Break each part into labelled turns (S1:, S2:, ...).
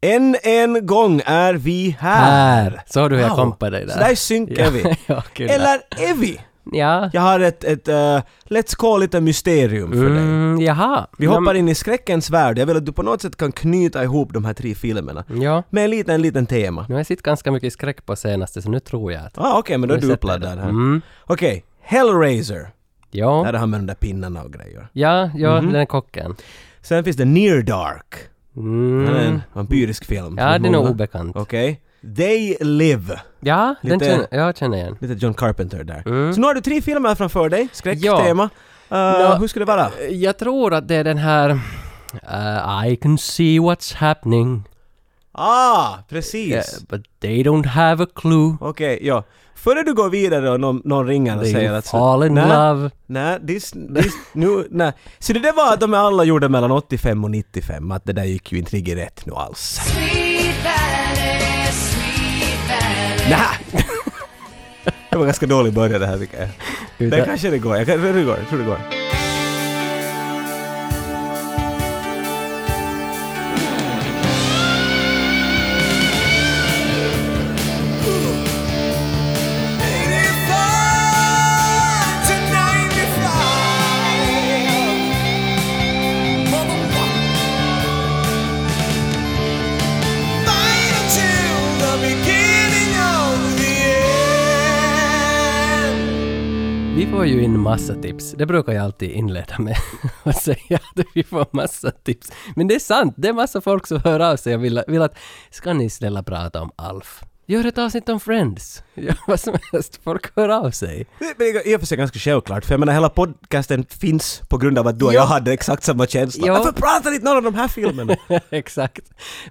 S1: Än en gång är vi här.
S2: Här! Så du hur jag
S1: Wow.
S2: kompade dig där?
S1: Så där synkar vi.
S2: ja, kul.
S1: Eller är vi?
S2: Ja.
S1: Jag har ett, ett eh, let's call it a mysterium för dig.
S2: Mm, jaha.
S1: Vi hoppar in i skräckens värld. Jag vill att du på något sätt kan knyta ihop de här tre filmerna.
S2: Ja.
S1: Med en liten, liten tema.
S2: Nu har jag sett ganska mycket skräck på senaste, så nu tror jag att...
S1: Ah, Okej, men då är
S2: Nu
S1: du
S2: sätter jag
S1: uppladdad
S2: det.
S1: här.
S2: Mm.
S1: Okej, Hellraiser. Där
S2: Ja.
S1: har man de där pinnarna och grejer.
S2: Ja, ja,
S1: Mhm.
S2: den är kocken.
S1: Sen finns det Near Dark. Den är
S2: Mm.
S1: en vampyrisk film.
S2: Ja, den är
S1: Många.
S2: obekant.
S1: Okej. They Live.
S2: Ja, den
S1: Lite-
S2: känner, jag känner igen.
S1: Lite John Carpenter där.
S2: Mm.
S1: Så nu har du tre filmer framför dig, skräcktema. Eh,
S2: Nå,
S1: hur ska det vara?
S2: Jag tror att det är den här... eh, I can see what's happening.
S1: Ah, precis!
S2: eh, but they don't have a clue.
S1: Okej, ja. Före du går vidare och någon, någon ringer och säger
S2: They
S1: att...
S2: fall in
S1: nej,
S2: love.
S1: Nej, this, this, nu, nej. Så det där var att de är alla gjorda mellan 85 och 95, att det där gick ju inte riktigt rätt nu alls.
S3: Sweet Valley, Sweet Valley.
S1: Nej. Det var ganska dålig början det här tycker jag.
S2: Utan-
S1: Men kanske det går, jag kan- det går, jag tror det går.
S2: Vi får ju in massa tips. Det brukar jag alltid inleda med att säga att vi får massa tips. Men det är sant, det är massa folk som hör av sig och vill, vill att ska ni snälla prata om Alf? Gör ett avsnitt om Friends. Gör vad som helst, folk hör av sig.
S1: Det men det är i och för sig ganska självklart, för jag menar hela podcasten finns på grund av att du och jag hade exakt samma känsla.
S2: Ja.
S1: Varför pratar inte någon om de här filmerna?
S2: Exakt.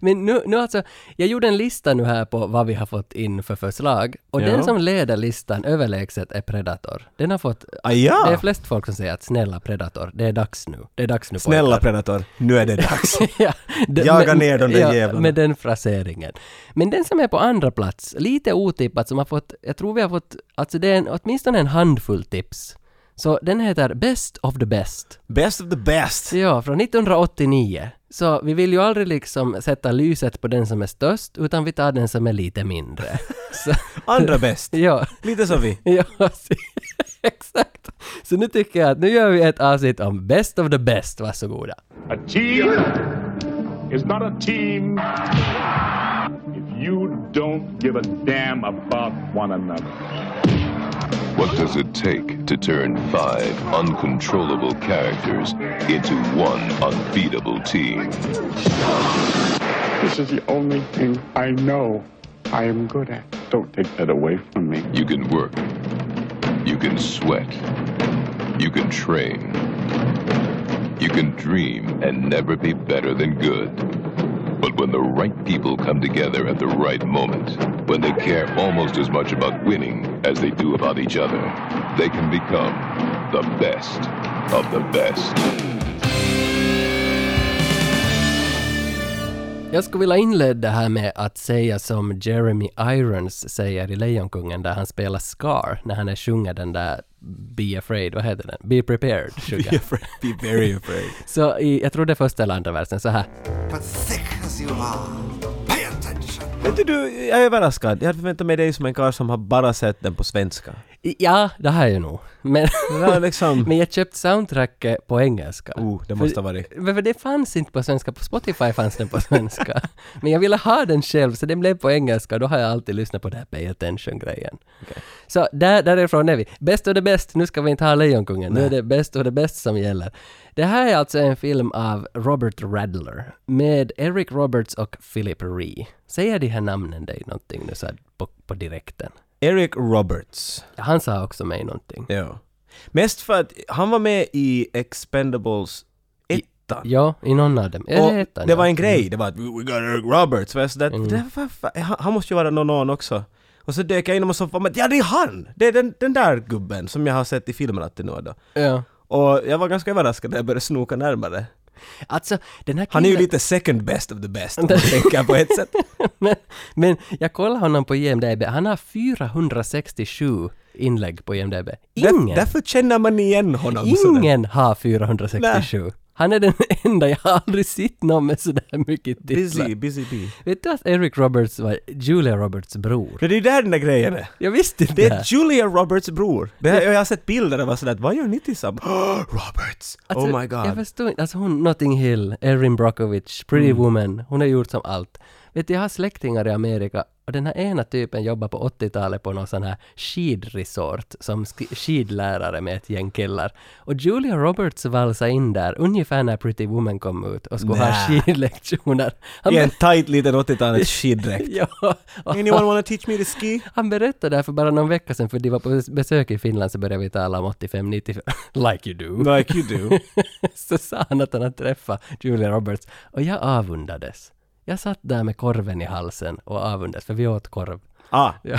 S2: Men nu, nu alltså, jag gjorde en lista nu här på vad vi har fått in för förslag och
S1: Ja.
S2: den som leder listan överlägset är Predator. Den har fått,
S1: Ah,
S2: det är
S1: ja.
S2: flest folk som säger att snälla Predator, det är dags nu. Det är dags nu pojkar.
S1: Snälla Predator, nu är det dags.
S2: ja, d-
S1: Jaga
S2: men-
S1: ner de där
S2: ja,
S1: jävlarna.
S2: Med den fraseringen. Men den som är på andra plats, lite otippat, som har fått, jag tror vi har fått, alltså det är en, åtminstone en handfull tips. Så den heter Best of the Best.
S1: Best of the best.
S2: Ja, från 1989. Så vi vill ju aldrig liksom sätta lyset på den som är störst, utan vi tar den som är lite mindre. Så,
S1: Andra bäst.
S2: ja.
S1: Lite som vi.
S2: Ja, se- exakt. Så nu tycker jag att nu gör vi ett avsnitt om Best of the Best, varsågoda.
S4: A team is not a team if you don't give a damn about one another.
S5: What does it take to turn five uncontrollable characters into one unbeatable team?
S4: This is the only thing I know I am good at. Don't take that away from me.
S5: You can work. You can sweat. You can train. You can dream and never be better than good. But when the right people come together at the right moment, when they care almost as much about winning as they do about each other, they can become the best of the best.
S2: Jag skulle vilja inleda här med att säga som Jeremy Irons säger i Lejonkungen där han spelar Scar när han är sjunger den där Be afraid, vad heter den? Be prepared, sjunger.
S1: afraid. Be very afraid.
S2: Så i, jag tror det är första eller andra versen, så här.
S6: But thick as you are, pay attention.
S1: Vet du, du, jag är överraskad. Jag hade förväntat mig dig som en karl som har bara sett den på svenska.
S2: I- Ja, det här är ju nog. Men,
S1: Det där är liksom...
S2: men jag köpte soundtracket på engelska.
S1: Oh, det måste ha varit...
S2: Men för det fanns inte på svenska, på Spotify fanns den på svenska. Men jag ville ha den själv, så den blev på engelska, då har jag alltid lyssnat på den här Pay Attention-grejen. Så där, därifrån är vi. Bäst och det bäst, nu ska vi inte ha Lejonkungen, nu är det bäst och det bäst som gäller. Det här är alltså en film av Robert Radler med Eric Roberts och Philip Ree. Säger de här namnen dig någonting nu så här på, på direkten?
S1: Eric Roberts.
S2: Han sa också mig någonting.
S1: Ja. Mest för att han var med i Expendables 1.
S2: Ja, i någon av dem.
S1: Och
S2: Jag vet inte.
S1: det var en
S2: Mm.
S1: grej, det var att "We got Eric Roberts, så jag sådär, det var, fa- han, han måste ju vara någon annan också. Och så dök jag in och så var ja det är han! Det är den, den där gubben som jag har sett i filmerna till nu och då.
S2: Ja.
S1: Och jag var ganska överraskad när jag började snoka närmare.
S2: Alltså, den här
S1: Han är ju
S2: killen-
S1: lite second best of the best om man tänker på ett sätt.
S2: men, men jag kollar honom på IMDB, han har 467 inlägg på IMDB.
S1: Där-
S2: Ingen!
S1: alltså, Därför känner man igen honom sådär.
S2: Ingen har 467. Han är den enda, jag har aldrig sett någon med sådär mycket titlar.
S1: Busy, busy bee.
S2: Vet du att Eric Roberts var Julia Roberts bror?
S1: Men det är ju där den där grejen är.
S2: Jag visste inte
S1: Det
S2: det
S1: är
S2: här.
S1: Julia Roberts bror. Det här, jag har sett bilder där var sådär att vad gör ni tillsammans? Roberts!
S2: Alltså,
S1: oh my
S2: Jag
S1: god.
S2: förstår inte. Alltså hon, Notting Hill, Erin Brockovich, Pretty
S1: Mm.
S2: Woman, hon har gjort som allt. Vet du, jag har släktingar i Amerika och den här ena typen jobbar på 80-talet på någon sån här skidresort som sk- skidlärare med ett gäng killar. Och Julia Roberts valsade in där ungefär när Pretty Woman kom ut och skulle ha
S1: Nä.
S2: skidlektioner. Han
S1: I
S2: ber-
S1: en tight liten 80-talets skiddräkt.
S2: ja, och
S1: Anyone wanna teach me to ski?
S2: Han berättade det här för bara någon vecka sedan, för de var på bes- besök i Finland så började vi tala om 85-90, like you do.
S1: Like you do.
S2: så sa han att han hade träffat Julia Roberts och jag avundades. Jag satt där med korven i halsen och avundades, för vi åt korv.
S1: Ah,
S2: Ja.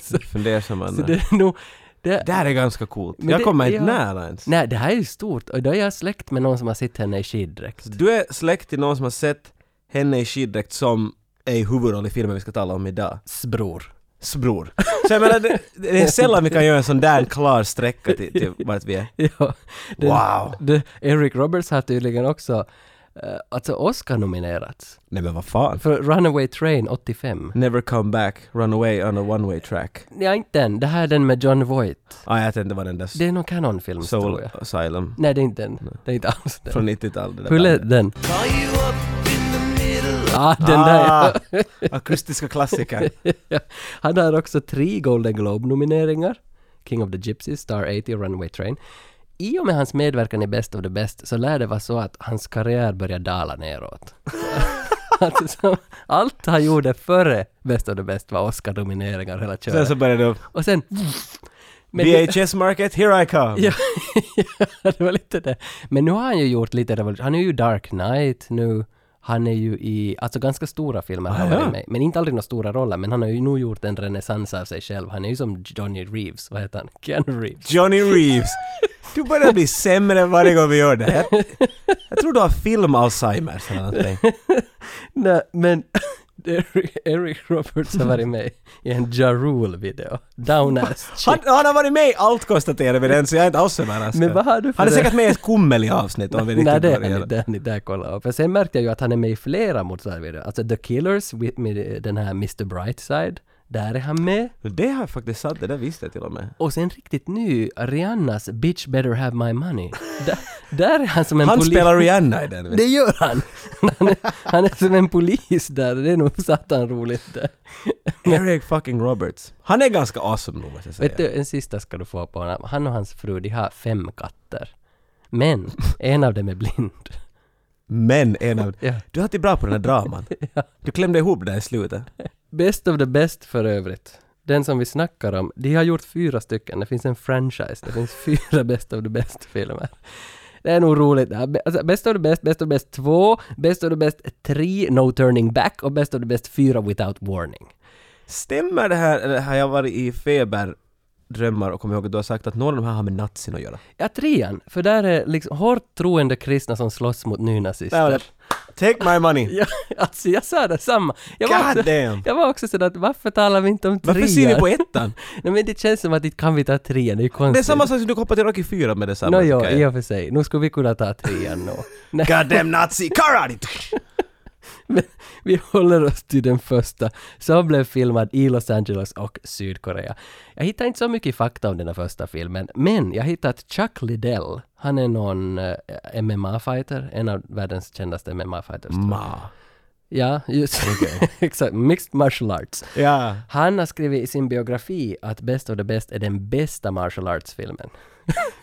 S2: så,
S1: fundersamma.
S2: så det är nog... Det,
S1: Det här är ganska coolt.
S2: Men
S1: jag
S2: det-
S1: kommer inte
S2: ja.
S1: nära ens.
S2: nej, det här är ju stort och då är jag släkt med någon som har sett henne i skiddräkt.
S1: Du är släkt till någon som har sett henne i skiddräkt som är i huvudroll i filmen vi ska tala om idag.
S2: Sbror.
S1: S bror. Så jag menar, det, det är sällan vi kan göra en sån där klar sträcka till, till vart vi är.
S2: Ja, den,
S1: Wow.
S2: Det, Eric Roberts har tydligen också eh, alltså Oscar nominerats
S1: Nej men vad fan.
S2: för Runaway Train 85.
S1: Never come back, run away on a one way track.
S2: Nej, inte den. Det här är den med John Voight.
S1: Ah, jag tänkte det var den där
S2: Det är någon kanonfilm, tror
S1: Soul
S2: jag.
S1: Asylum.
S2: Nej, det är inte den. Det är inte alls den.
S1: Från 90-talet. det där
S2: Hur lät
S1: bandet.
S2: den? Ah, den
S1: Ah,
S2: där
S1: akustiska klassiker.
S2: ja. Han har också tre Golden Globe-nomineringar. King of the Gypsies, Star 80 och Runaway Train. I och med hans medverkan i Best of the Best så lär det vara så att hans karriär börjar dala neråt. alltså, så, allt han gjorde före Best of the Best var Oscar-nomineringar hela
S1: Sen
S2: köret.
S1: så började det upp.
S2: Och sen... Men-
S1: VHS market, here I come!
S2: Ja, det var lite det. Men nu har han ju gjort lite revolution. Han är ju Dark Knight nu. Han är ju i, alltså ganska stora filmer har han
S1: Ah,
S2: varit
S1: ja.
S2: med i. Men inte aldrig några stora roller. Men han har ju nog gjort en renässans av sig själv. Han är ju som Johnny Reeves, vad heter han? Keanu Reeves.
S1: Johnny Reeves. Du börjar bli sämre varje gång vi gör det här. Jag tror du har film-Alzheimers eller någonting.
S2: Nej, men Eric, Eric Roberts har varit med i en Ja Rule-video. Down Ass
S1: Han,
S2: Chick.
S1: han har varit med i allt konstaterar vi den, så jag är inte alls överraskad.
S2: Men vad har du för
S1: Han är
S2: det?
S1: säkert med i ett Kummeli-avsnitt om vi riktigt
S2: Nej, det är han
S1: börjar.
S2: inte. Det är han inte. Där kolla upp. För sen märkte jag ju att han är med i flera motsvarande Alltså The Killers with, med den här Mr. Brightside. Där är han med.
S1: Det har jag faktiskt satt, det där visste jag till och med.
S2: Och sen riktigt ny, Rihannas Bitch Better Have My Money. Där, där är han som en
S1: Han
S2: polis.
S1: spelar Rihanna i den. vet
S2: Det
S1: du.
S2: gör han! Han är, han är som en polis där, det är nog satan roligt där.
S1: Eric fucking Roberts. Han är ganska awesome nog måste jag säga.
S2: Vet du, en sista ska du få på honom. Han och hans fru, de har fem katter. Men, en av dem är blind.
S1: Men en av...
S2: Ja.
S1: Du har alltid bra på den här draman. Du klämde ihop det i slutet.
S2: Best of the best för övrigt. Den som vi snackar om, de har gjort fyra stycken. Det finns en franchise, det finns fyra best of the best-filmer. Det är nog roligt. det här. Be- Alltså, best of the best, best of the best 2, best of the best 3, No turning back och best of the best 4, Without warning.
S1: Stämmer det här, eller har jag varit i feberdrömmar och kommer ihåg att du har sagt att någon av de här har med nazin att göra?
S2: Ja, trean, för där är liksom hårt troende kristna som slåss mot
S1: Där var
S2: nynazister.
S1: det. Take my money!
S2: Ja, alltså jag sa detsamma. Jag var
S1: God
S2: också,
S1: damn.
S2: jag var också sådär att varför talar vi inte om trean?
S1: Varför ser vi på ettan?
S2: Nej men det känns som att inte kan vi ta trean, det är ju konstigt.
S1: Det är samma sak som du hoppar till Rocky 4 med detsamma.
S2: Nå ja,
S1: tycker
S2: i
S1: jag.
S2: och för sig. Nu skulle vi kunna ta trean nå. Nej,
S1: God damn nazi! Karate!
S2: men vi håller oss till den första som blev filmad i Los Angeles och Sydkorea. Jag hittar inte så mycket fakta om den här första filmen, men jag hittar att Chuck Liddell, han är någon eh, MMA-fighter, en av världens kändaste MMA-fighters.
S1: Ma.
S2: Ja, just Exakt, mixed martial arts.
S1: Ja.
S2: Han har skrivit i sin biografi att Best of the Best är den bästa martial arts-filmen.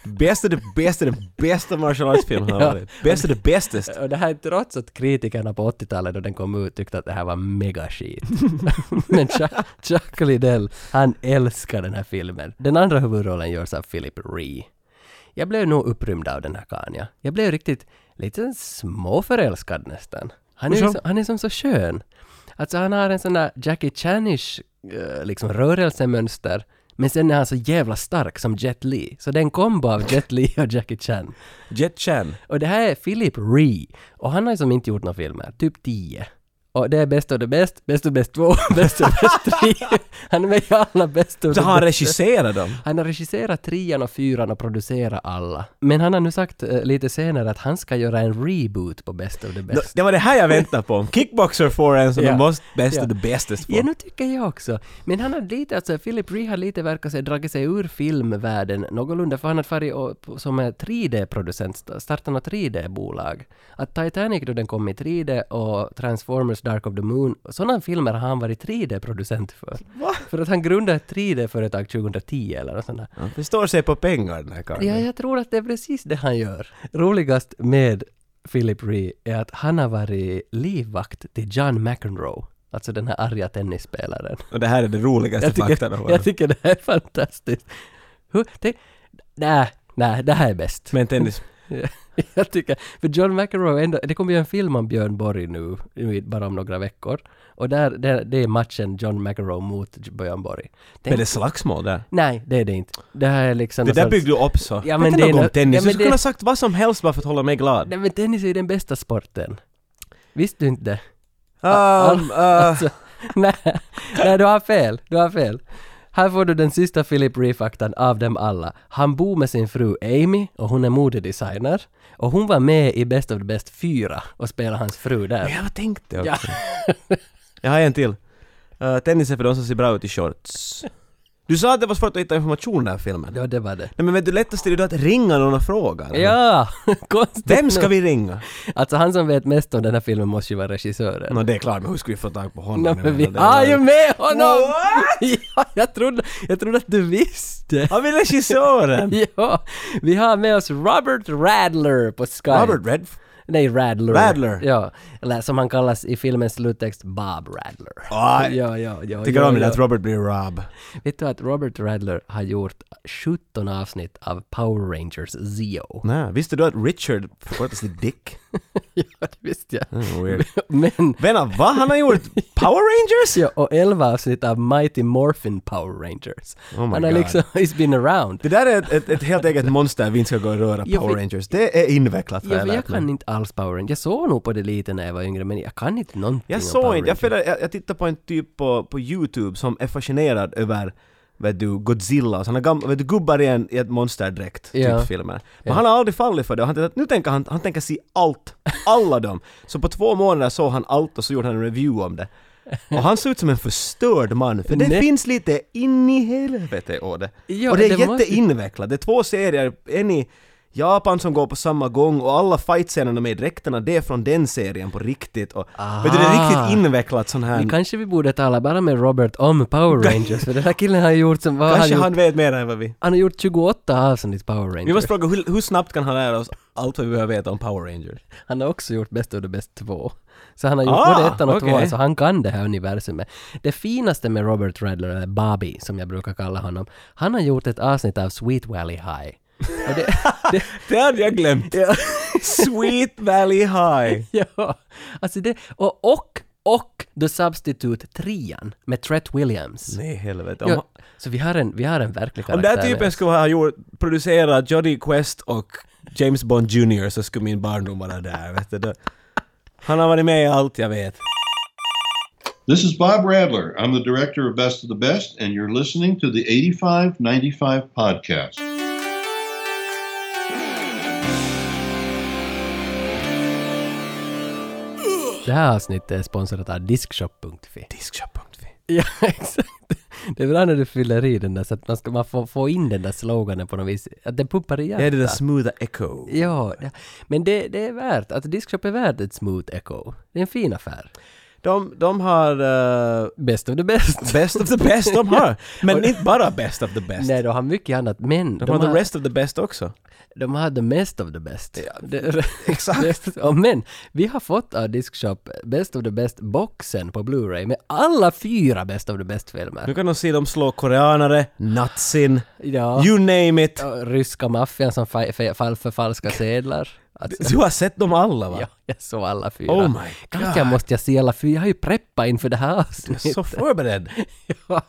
S1: Bästa, det bästa, det bästa martial arts-film har varit. Bästa, det bästa.
S2: Och det här är trots att kritikerna på 80-talet då den kom ut tyckte att det här var mega skit. Men Chuck, Chuck Liddell, han älskar den här filmen. Den andra huvudrollen görs av Philip Ree. Jag blev nog upprymd av den här karln, ja. Jag blev riktigt lite småförälskad nästan. Han är,
S1: Hur så?
S2: som, han är som så skön. Alltså han har en sån där Jackie Chanish eh, liksom rörelsemönster. Men sen är han så jävla stark som Jet Li. Så det är en kombo av Jet Li och Jackie Chan.
S1: Jet Chan.
S2: Och det här är Philip Ree. Och han har ju som inte gjort några filmer, typ 10. Och det är Bäst och det bäst, Bäst och bäst två, Bäst och bäst tre. Han är med i alla Bäst och
S1: Så
S2: det
S1: har han
S2: bäst.
S1: regisserat dem?
S2: Han har regisserat trean och fyran och producerat alla. Men han har nu sagt eh, lite senare att han ska göra en reboot på Best of the
S1: Nå,
S2: Best.
S1: Det var det här jag väntade på. Kickboxer får en som
S2: Ja.
S1: de måste bäst
S2: Ja.
S1: och det bästes
S2: Ja,
S1: på.
S2: nu tycker jag också. Men han har lite, alltså Philip Ree har lite verkat sig dragit sig ur filmvärlden någorlunda, för han har farit och- på- som är 3D-producent, sta- startat något 3D-bolag. Att Titanic då den kom i 3D och Transformers Dark of the Moon, sådana filmer har han varit 3D-producent för. För att han grundade ett 3D-företag 2010 eller något sånt där.
S1: Han förstår sig på pengar den här karln.
S2: Ja, jag tror att det är precis det han gör. Roligast med Philip Ree är att han har varit livvakt till John McEnroe. Alltså den här arga tennisspelaren.
S1: Och det här är det roligaste
S2: Jag
S1: faktan om
S2: tycker,
S1: honom.
S2: jag tycker det här är fantastiskt. Hur, det, nej, nej, det här är bäst.
S1: Men tennis...
S2: Jag tycker, för John McEnroe, ändå, det kommer ju en film om Björn Borg nu, nu i- bara om några veckor. Och där, det, det är matchen John McEnroe mot Björn Borg.
S1: Men
S2: Tänk,
S1: det är slagsmål där.
S2: nej, det är det inte. Det här är liksom...
S1: Det
S2: någon
S1: där
S2: sorts-
S1: byggde du upp så.
S2: Ja,
S1: Ja,
S2: men
S1: men
S2: det är
S1: något om
S2: nå-
S1: tennis.
S2: ja, men
S1: du skulle
S2: det-
S1: ha sagt vad som helst bara för att hålla mig glad.
S2: Nej men tennis är ju den bästa sporten. Visste du inte det?
S1: Um, uh,
S2: Alltså, nej, nej, du har fel. Du har fel. Här får du den sista Philip Ree-faktan av dem alla. Han bor med sin fru Amy och hon är modedesigner. Och hon var med i Best of the Best 4 och spelade hans fru där.
S1: jag tänkte
S2: Ja.
S1: också. Jag har en till. Uh, tennis är för de som ser bra ut i shorts. Du sa att det var svårt att hitta information i den här filmen.
S2: Ja, det var det.
S1: Nej men vet du, lättast är det då att ringa någon och fråga.
S2: Ja, konstigt
S1: Vem ska
S2: nog.
S1: vi ringa?
S2: Alltså han som vet mest om den här filmen måste ju vara regissören.
S1: Nå det är klart, men hur ska vi få tag på honom?
S2: Nej,
S1: Jag
S2: men vi
S1: menar, det var-
S2: har ju med honom!
S1: What?
S2: Ja, jag trodde, jag trodde att du visste.
S1: Har vi regissören?
S2: Ja, vi har med oss Robert Radler på Skype.
S1: Robert Redf...
S2: Nej, Radler.
S1: Radler.
S2: Ja, eller som han kallas i filmens sluttext, Bob Radler.
S1: Ah,
S2: ja, ja, ja.
S1: Tycker
S2: ja,
S1: om det
S2: ja.
S1: att Robert blir Rob.
S2: Vet du att Robert Radler har gjort 17 avsnitt av Power Rangers Zeo?
S1: Nej, visste du att Richard förkortas till Dick?
S2: ja, det visste jag.
S1: Mm, weird.
S2: Men...
S1: Vänta, vad? Han har gjort Power Rangers?
S2: Ja, och 11 avsnitt av Mighty Morphin Power Rangers.
S1: Oh my
S2: han har
S1: God.
S2: liksom, he's been around.
S1: Det där är ett, ett, ett helt eget monster vi inte ska gå och röra,
S2: Ja,
S1: Power
S2: för-
S1: Rangers. Det är invecklat har
S2: Ja,
S1: jag
S2: för jag
S1: lärt
S2: kan
S1: mig.
S2: inte alls Power Rangers. Jag såg nog på det lite när jag var yngre, men jag kan inte någonting om
S1: Jag
S2: Power
S1: såg inte, jag,
S2: Rangers.
S1: följde- jag, jag tittade på en typ på, på YouTube som är fascinerad över vet du, Godzilla, så han har gam- vet du, gubbar i, en, i ett monsterdräkt,
S2: Ja.
S1: typ filmer. Men
S2: Ja.
S1: han har aldrig fallit för det och han tänkte att nu tänker han, han tänker se allt, alla dem. Så på två månader såg han allt och så gjorde han en review om det. Och han såg ut som en förstörd man, för det
S2: Nej.
S1: finns lite in i helvete åt det.
S2: Ja,
S1: och det är
S2: det måste-
S1: jätteinvecklat, det är två serier, en i Japan som går på samma gång och alla fightscenerna med dräkterna, det är från den serien på riktigt och
S2: Ah.
S1: Vet du, det är riktigt invecklat sån här...
S2: Vi kanske vi borde tala bara med Robert om Power Rangers, för den här killen har gjort som... Vad har
S1: Kanske
S2: han,
S1: han
S2: gjort?
S1: vet mer än vad vi...
S2: han har gjort 28 avsnitt Power Rangers.
S1: Vi måste fråga hur, hur snabbt kan han lära oss allt vad vi behöver veta om Power Rangers?
S2: Han har också gjort Bäst av det bäst två. Så han har gjort
S1: Ah,
S2: både ettan och
S1: okej.
S2: tvåan, så han kan det här universumet. Det finaste med Robert Redler, eller Bobby, som jag brukar kalla honom, han har gjort ett avsnitt av Sweet Valley High. Och det, det,
S1: Det hade jag glömt! Sweet Valley High!
S2: ja, alltså det, och, och, och The Substitute trian med Tret Williams.
S1: Nej helvete. Om,
S2: Ja, så vi har en, vi har en
S1: om
S2: verklig karaktär.
S1: den här
S2: med
S1: typen
S2: oss.
S1: skulle ha gjort, producerat Jodie Quest och James Bond Jr så skulle min barndom vara där, vet du. Det- Han har varit med i allt jag vet.
S7: This is Bob Radler. I'm the director of Best of the Best, and you're listening to the 85 95 podcast.
S2: Det här avsnittet är sponsrat av Diskshop.fi.
S1: Diskshop.fi.
S2: Ja, exakt. Det är bra när du fyller i den där så att man, ska, man får, får in den där sloganen på något vis. Att den pumpar i
S1: Det är
S2: hjärtat.
S1: det där smootha echo.
S2: Ja, det- men det, det är värt, att Diskshop är värt ett smooth echo. Det är en fin affär.
S1: De, de har... eh,
S2: Best of the best.
S1: best of the best de har! Men inte bara best of the best.
S2: Nej, de har mycket annat, men
S1: De har the rest of the best också.
S2: de har the mest of the best. Det-
S1: exakt.
S2: Det- ja, men vi har fått av Diskshop Best of the Best-boxen på Blu-ray med alla fyra Best of the
S1: Nu
S2: Best-filmer.
S1: kan de se dem slå koreanare, nazin,
S2: Ja.
S1: you name it.
S2: Ja, Ryska maffian som fa- fa- fall förfalskar sedlar. Alltså,
S1: Du har sett dem alla va?
S2: ja, jag såg alla fyra.
S1: Oh my
S2: Kanske jag
S1: God.
S2: måste jag se alla fyra. Jag har ju preppat inför det här
S1: Jag är
S2: avsnittet.
S1: så förberedd.
S2: Ja,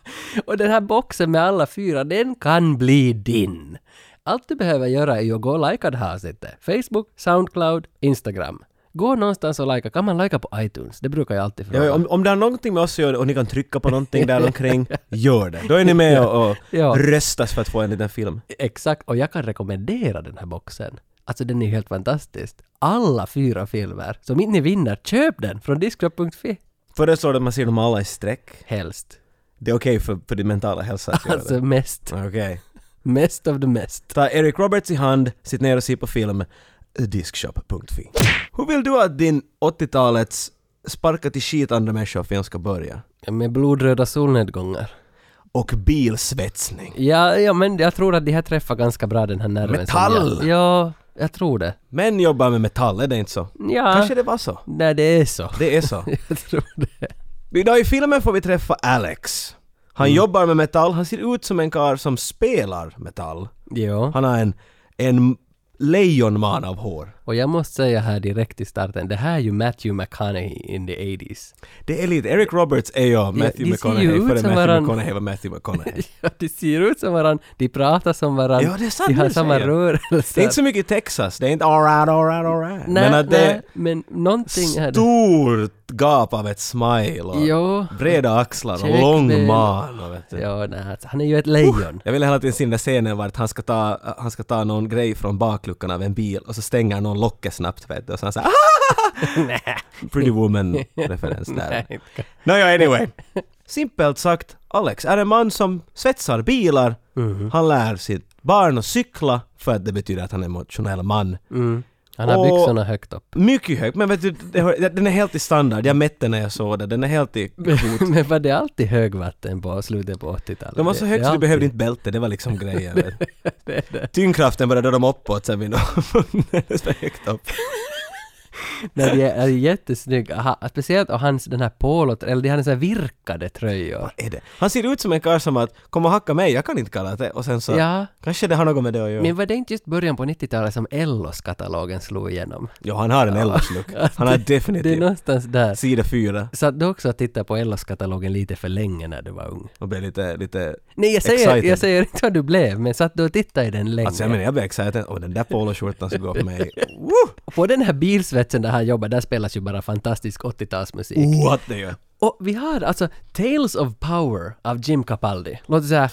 S2: och den här boxen med alla fyra, den kan bli din. Allt du behöver göra är ju att gå och likea det här avsnittet. Facebook, Soundcloud, Instagram. Gå någonstans och likea. Kan man likea på iTunes? Det brukar jag alltid fråga.
S1: Ja, om, om det har någonting med oss att göra och ni kan trycka på någonting där omkring, gör det. Då är ni med och, och
S2: Ja.
S1: röstas för att få en liten film.
S2: Exakt, och jag kan rekommendera den här boxen. Alltså den är helt fantastisk. Alla fyra filmer. Så om inte ni vinner, köp den från discgrupp.fi.
S1: Föreslår du att man ser dem alla i streck?
S2: Helst.
S1: Det är okej för, för din mentala hälsa att göra
S2: Alltså
S1: det.
S2: mest.
S1: Okej.
S2: Mest av det mest.
S1: Ta Eric Roberts i hand, sitt ner och se på film, diskshop.fi. Hur vill du att din 80-talets sparka till skit andra människor-film ska börja?
S2: Med blodröda solnedgångar.
S1: Och bilsvetsning.
S2: Ja, ja, men jag tror att de här träffar ganska bra den här nerven. som
S1: Metall!
S2: Jag, ja, jag tror det.
S1: Män jobbar med metall, är det inte så?
S2: Ja.
S1: Kanske det var så.
S2: Nej, det är så.
S1: Det är så.
S2: Jag tror det.
S1: Idag i filmen får vi träffa Alex. Han
S2: Mm.
S1: jobbar med metall, han ser ut som en karl som spelar metall.
S2: Jo.
S1: Han har en, en lejonman av hår.
S2: Och jag måste säga här direkt i starten, det här är ju Matthew McConaughey in the 80s.
S1: Det är lite, Eric Roberts är ju Matthew
S2: de ser ju
S1: McConaughey
S2: ut
S1: före
S2: som
S1: Matthew
S2: varann-
S1: McConaughey var Matthew McConaughey.
S2: Ja, de ser ut som varandra, de pratar som varandra,
S1: Ja, det är sant,
S2: de
S1: det
S2: har
S1: du
S2: samma
S1: säger.
S2: rörelser.
S1: Det är inte så mycket i Texas, det är inte alright, alright, alright.
S2: nej,
S1: Men att det
S2: nej,
S1: är
S2: men någonting här.
S1: stort gap av ett smile och
S2: Jo.
S1: breda axlar och
S2: Check
S1: lång
S2: bild.
S1: man. och Vet du.
S2: Ja, nej, alltså, han är ju ett lejon.
S1: Jag ville hela tiden se den där scenen vart han ska, ta, han ska ta någon grej från bakluckan av en bil och så stänger någon locket snabbt vet du och så han såhär Pretty Woman-referens där.
S2: Nej, inte.
S1: Nåja, anyway. Simpelt sagt, Alex är en man som svetsar bilar.
S2: Mhm.
S1: Han lär sitt barn att cykla för att det betyder att han är en emotionell man.
S2: Han har
S1: Och-
S2: byxorna högt upp.
S1: Mycket hög, men vet du, det hör- den är helt i standard. Jag mätte när jag såg den, den är helt i...
S2: men var det alltid högvatten på slutet på 80-talet?
S1: De var så
S2: Det-
S1: högt
S2: det är
S1: så du behövde
S2: alltid-
S1: inte bälte, det var liksom grejen. vet du. Tyngdkraften började röra dem uppåt sen vid någon- Det är så högt upp.
S2: Nej, de är, är jättesnygga. Ha, speciellt och hans den här polot, eller de har så här virkade tröjor.
S1: Är det? Han ser ut som en karl som att kom och hacka mig, jag kan inte karate. Och sen så,
S2: Ja.
S1: kanske det har något med det att göra.
S2: Men var det inte just början på 90-talet som Ellos-katalogen slog igenom?
S1: Jo, han har en Ellos-look. Han har
S2: Det är
S1: definitivt.
S2: någonstans där.
S1: Sida fyra.
S2: Satt du också och tittade på Ellos-katalogen lite för länge när du var ung?
S1: Och blev lite, lite...
S2: Nej, jag säger,
S1: Excited.
S2: jag säger inte vad du blev, men satt du och tittade i den länge?
S1: Alltså jag menar, jag blev excited. Och den där poloskjortan som går på mig. Woo!
S2: På den här bilsvetsen där han jobbar, där spelas ju bara fantastisk 80-talsmusik.
S1: What det gör.
S2: Och vi har alltså Tales of Power av Jim Capaldi. Låter såhär...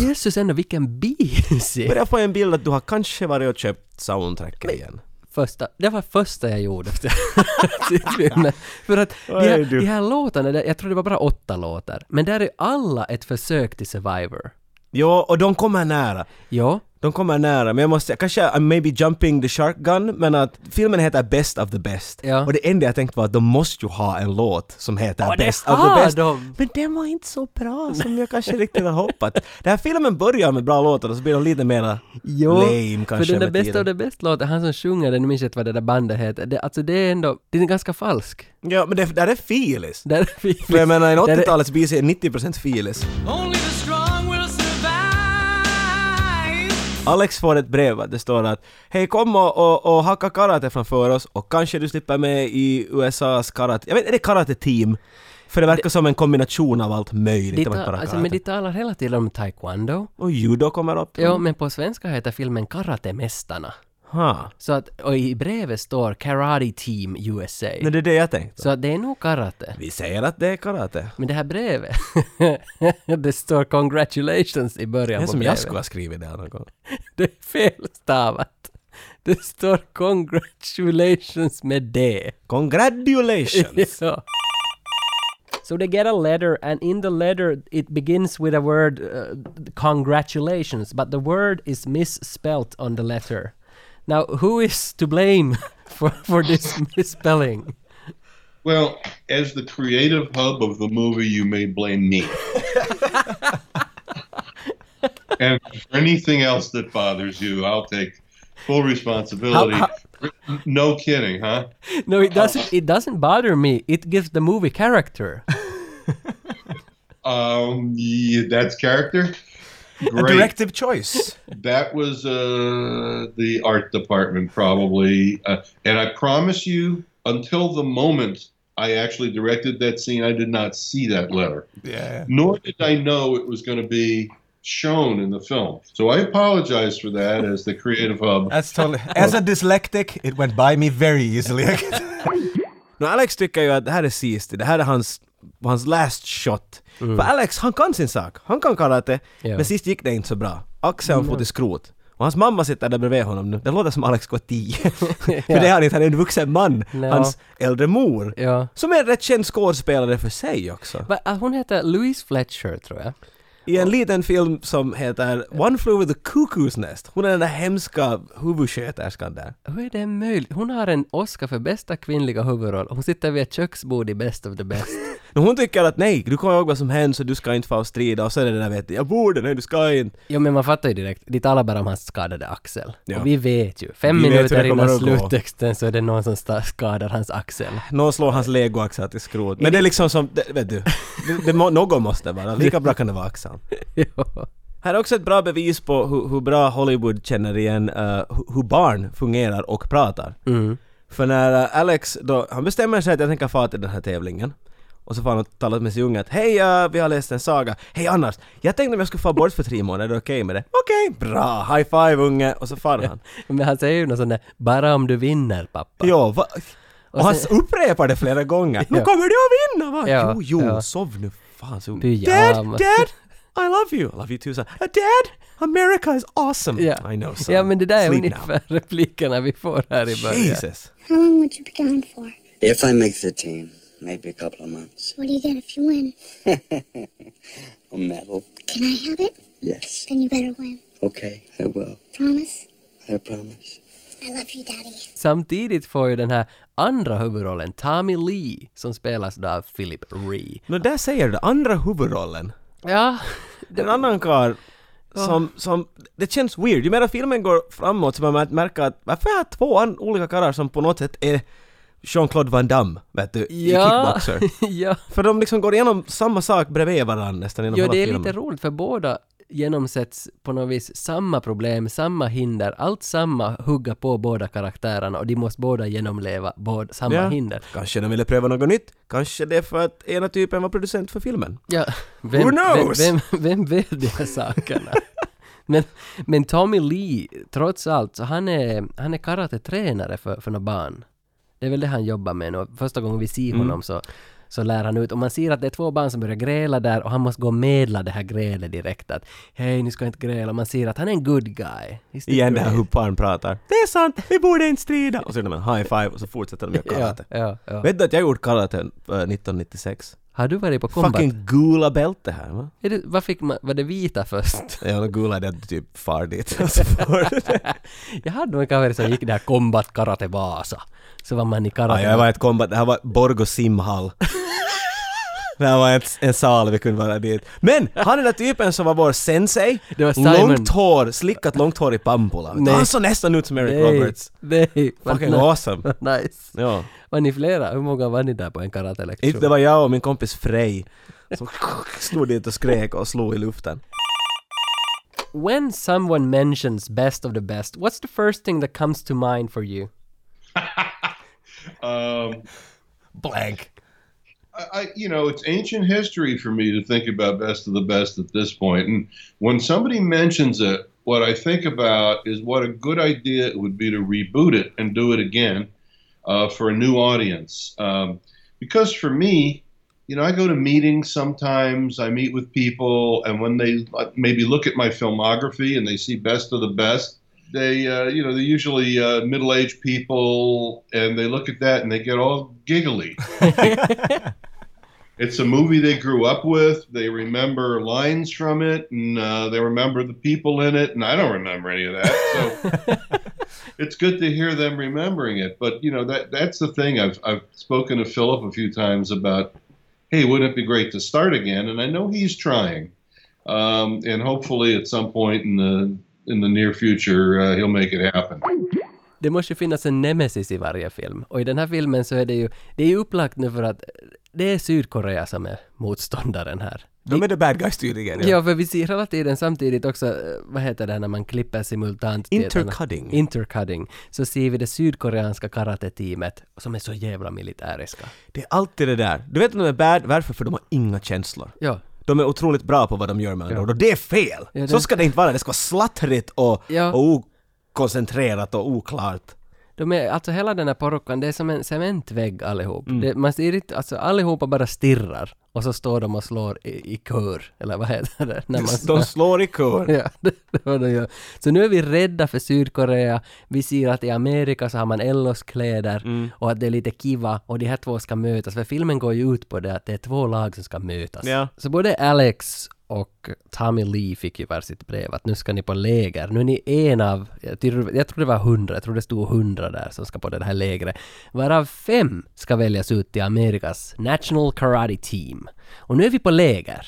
S2: Jösses ändå vilken bisig!
S1: Börjar få en bild att du har kanske varit och köpt soundtracket igen.
S2: Första, det var första jag gjorde efter sitt filmen. För att de
S1: Oj,
S2: här,
S1: du.
S2: de här låtarna, där- jag tror det var bara åtta låtar, men där är alla ett försök till Survivor.
S1: Jo, och de kommer nära.
S2: Ja,
S1: De kommer nära, men jag måste, kanske I'm maybe jumping the shark gun, men att filmen heter Best of the Best.
S2: Ja.
S1: Och det enda jag tänkte var att de måste ju ha en låt som heter
S2: Ja, det
S1: Best of
S2: har
S1: the Best.
S2: de.
S1: Men den var inte så bra som jag kanske riktigt hade hoppats. Den här filmen börjar med bra låtar och så blir de lite mera lame kanske
S2: för den där
S1: med
S2: bästa
S1: tiden.
S2: av det bästa låten, han som sjunger den, nu minns jag inte vad det där bandet heter, det, alltså det är ändå, den är ganska falsk.
S1: Ja, men det, där är filis.
S2: Där är vi-
S1: För jag menar, en
S2: där är-
S1: 80-talets BC är 90% filis.
S3: Only the strong will survive.
S1: Alex får ett brev att det står att Hej kom och, och, och hacka karate framför oss och kanske du slipper med i USAs karate... Jag vet är det karate-team? För det verkar som en kombination av allt möjligt.
S2: De
S1: Det var
S2: ta,
S1: inte bara
S2: alltså,
S1: karate. Mm.
S2: men de talar hela tiden om taekwondo.
S1: Och judo kommer upp.
S2: Ja, men på svenska heter filmen Karatemästarna.
S1: Ha.
S2: Så att, och i brevet står Karate Team USA.
S1: Nej, det är det jag tänkte.
S2: Så att det är nog karate.
S1: Vi säger att det är karate.
S2: Men det här brevet, det står congratulations i
S1: Det
S2: början
S1: är
S2: på
S1: som
S2: brevet.
S1: jag skulle ha skrivit det här någon gång.
S2: Det är felstavat. Det står congratulations med D.
S1: Congratulations!
S2: So. So they get a letter, and in the letter it begins with a word, uh, congratulations, but the word is misspelt on the letter. Now, who is to blame for, for this misspelling?
S7: Well, as the creative hub of the movie, you may blame me. and for anything else that bothers you, I'll take full responsibility.
S2: How-
S7: no kidding, huh?
S2: No, it doesn't. It doesn't bother me. It gives the movie character.
S7: Um, yeah, that's character.
S1: A
S7: Great.
S1: directive choice!
S7: That was uh, the art department, probably. Uh, and I promise you, until the moment I actually directed that scene, I did not see that letter.
S1: Yeah.
S7: Nor did I know it was going to be shown in the film. So I apologize for that as the creative hub.
S8: That's totally. As a dyslectic, it went by me very easily.
S1: No, Alex tycker ju att det här är sist, det här är hans, hans last shot.
S8: Mm.
S1: För Alex, han kan sin sak, han kan karate,
S2: Ja.
S1: men sist gick det inte så bra. Axeln får
S8: Mm.
S1: till skrot. Och hans mamma sitter där bredvid honom nu. Det låter som Alex går tio. För det är han inte, han är en vuxen man.
S2: Nå.
S1: Hans äldre mor.
S2: Ja.
S1: Som är en rätt känd skådespelare för sig också.
S2: Va, ah, hon heter Louise Fletcher, tror jag.
S1: I en liten film som heter One Flew With The Cuckoo's Nest. Hon är den där hemska huvudsköterskan där.
S2: Hur är det möjligt? Hon har en Oscar för bästa kvinnliga huvudroll. Hon sitter vid ett köksbord i Best of the Best.
S1: Men hon tycker att nej, du kommer ihåg vad som hände så du ska inte få strida och så är det den där vet du, jag borde, nej du ska inte.
S2: Jo men man fattar ju direkt, de talar bara om hans skadade axel.
S1: Ja.
S2: Och vi vet ju,
S1: Vi
S2: fem
S1: vet hur
S2: minuter
S1: det kommer
S2: innan
S1: att gå.
S2: sluttexten så är det någon som sta- skadar hans axel.
S1: Någon slår hans legoaxel till skrot. Men det är liksom som, det, vet du, det, det, må- något måste vara. Lika bra kan det vara axeln.
S2: Jo.
S1: Här är också ett bra bevis på hur, hur bra Hollywood känner igen eh, hu- hur barn fungerar och pratar. För när eh, Alex då, han bestämmer sig att jag tänker fara till den här tävlingen. Och så får han och talar med sin unge att hej, eh, vi har läst en saga. Hej annars, jag tänkte om jag skulle fara bort för tre månader, är det okej med det? Okej, bra, high five unge! Och så far han.
S2: Men han säger ju något sånt där, bara om du vinner pappa.
S1: Jo, va? Och han
S2: sen-
S1: upprepar det flera gånger. Nu
S2: Ja.
S1: kommer du att vinna va?
S2: Ja,
S1: Jo, jo,
S2: ja.
S1: sov nu. Fan, så... Dad,
S2: Pyjamas.
S1: dad! I love you! I love you too son. Uh, Dad! America is awesome!
S2: Ja.
S1: I know son.
S2: ja men det där är
S1: Sleep now.
S2: ungefär replikerna vi får här i början.
S1: Jesus!
S9: How long would you be gone for?
S6: If I make the team, maybe a couple of months.
S9: What do you get if you win?
S6: A medal?
S9: Can I have it?
S6: Yes.
S9: Then you better win.
S6: Okay, I will.
S9: Promise?
S6: I promise.
S9: I love you, Daddy.
S2: Samtidigt får ju den här andra huvudrollen, Tommy Lee, som spelas då av Philip Ree.
S1: Nå där säger du det, andra huvudrollen.
S2: Ja,
S1: En annan karl som, som, det känns weird. Ju mer filmen går framåt så börjar man märka att varför har två an- olika karlar som på något sätt är Jean-Claude Van Damme, vet du, i
S2: ja,
S1: kickboxer.
S2: ja.
S1: För de liksom går igenom samma sak bredvid varandra nästan genom
S2: Jo,
S1: hela
S2: det är
S1: filmen.
S2: lite roligt för båda genomsätts på något vis samma problem, samma hinder, allt samma hugga på båda karaktärerna och de måste båda genomleva båda, samma
S1: Ja.
S2: hinder.
S1: Kanske de ville pröva något nytt. Kanske det är för att ena typen var producent för filmen.
S2: Ja, vem,
S1: Who knows?
S2: Vem, vem, vem vet de här sakerna? men, men Tommy Lee, trots allt, så han är, han är karatetränare för, för några barn. Det är väl det han jobbar med nu. Första gången vi
S1: Mm.
S2: ser honom så, så lär han ut. Och man ser att det är två barn som börjar gräla där och han måste gå och medla det här grälet direkt. Att hej, ni ska inte gräla. Man ser att han är en good guy. He's the
S1: Igen det här
S2: great.
S1: hur barn pratar. Det är sant, vi borde inte strida! Och så gör de en high five och så fortsätter de göra karate.
S2: Ja, ja, ja.
S1: Vet du att jag gjorde karate eh, 1996?
S2: Har du varit på combat?
S1: Fucking gula bälte här va?
S2: Är det, vad fick man, var det vita först?
S1: Ja, de gula det är typ far dit. och så får du det.
S2: Jag hade några kamrater som gick där Combat Karate Vasa. Så var man i
S1: Ja,
S2: karate.
S1: jag var i ett combat, det här var Borgo simhall. Det här var en, en sal vi kunde vara dit. Men han den där typen som var vår sensei,
S2: Det var Simon.
S1: långt hår, slickat långt hår i bambula.
S2: Nej.
S1: Han såg nästan ut som Eric
S2: Nej,
S1: Roberts.
S2: Nej, vad
S1: Fucking
S2: ni-
S1: awesome.
S2: vad nice.
S1: Ja.
S2: Var ni flera? Hur många var ni där på en
S1: Inte det
S2: karatelektion?
S1: var jag och min kompis Frej som stod dit och skrek och slog i luften.
S2: When someone mentions best of the best, what's the first thing that comes to mind for you?
S7: Um,
S8: Blank.
S7: I, I, you know, it's ancient history for me to think about best of the best at this point. And when somebody mentions it, what I think about is what a good idea it would be to reboot it and do it again uh, for a new audience. Um, because for me, you know, I go to meetings sometimes, I meet with people, and when they uh, maybe look at my filmography and they see best of the best, they, uh, you know, they're usually uh, middle aged people, and they look at that and they get all giggly. It's a movie they grew up with. They remember lines from it, and uh, they remember the people in it. And I don't remember any of that. So it's good to hear them remembering it. But you know that that's the thing. I've I've spoken to Philip a few times about. Hey, wouldn't it be great to start again? And I know he's trying, um, and hopefully at some point in the in the near future uh, he'll make it happen.
S2: Det måste ju finnas en nemesis i varje film. Och i den här filmen så är det ju, det är ju upplagt nu för att det är Sydkorea som är motståndaren här.
S1: De är the bad guys tydligen.
S2: Ja, för vi ser hela tiden samtidigt också, eh, vad heter det här när man klipper simultant? till ett annat-
S1: Intercutting.
S2: Intercutting. Så ser vi det sydkoreanska karate-teamet som är så jävla militäriska.
S1: Det är alltid det där. Du vet att de är bad, varför? För de har inga känslor.
S2: Ja.
S1: De är otroligt bra på vad de gör med andra ord och det är fel!
S2: Ja, det-
S1: Så ska det inte vara, det ska vara slattrigt och,
S2: Ja.
S1: och okoncentrerat och oklart.
S2: De är, alltså hela den här porrokan, det är som en cementvägg allihop. Det, man ser inte, alltså allihopa bara stirrar och så står de och slår i, i kör, eller vad heter det? När man,
S1: De slår i kör.
S2: Ja, det, det var de gör. Så nu är vi rädda för Sydkorea. Vi ser att i Amerika så har man Ellos-kläder och att det är lite kiva och de här två ska mötas. För filmen går ju ut på det att det är två lag som ska mötas.
S1: Ja.
S2: Så både Alex och Tommy Lee fick ju varsitt brev att nu ska ni på läger. Nu är ni en av, jag tror jag tror det var hundra, jag tror det stod hundra där som ska på det här lägret. Varav fem ska väljas ut till Amerikas National Karate Team. Och nu är vi på läger.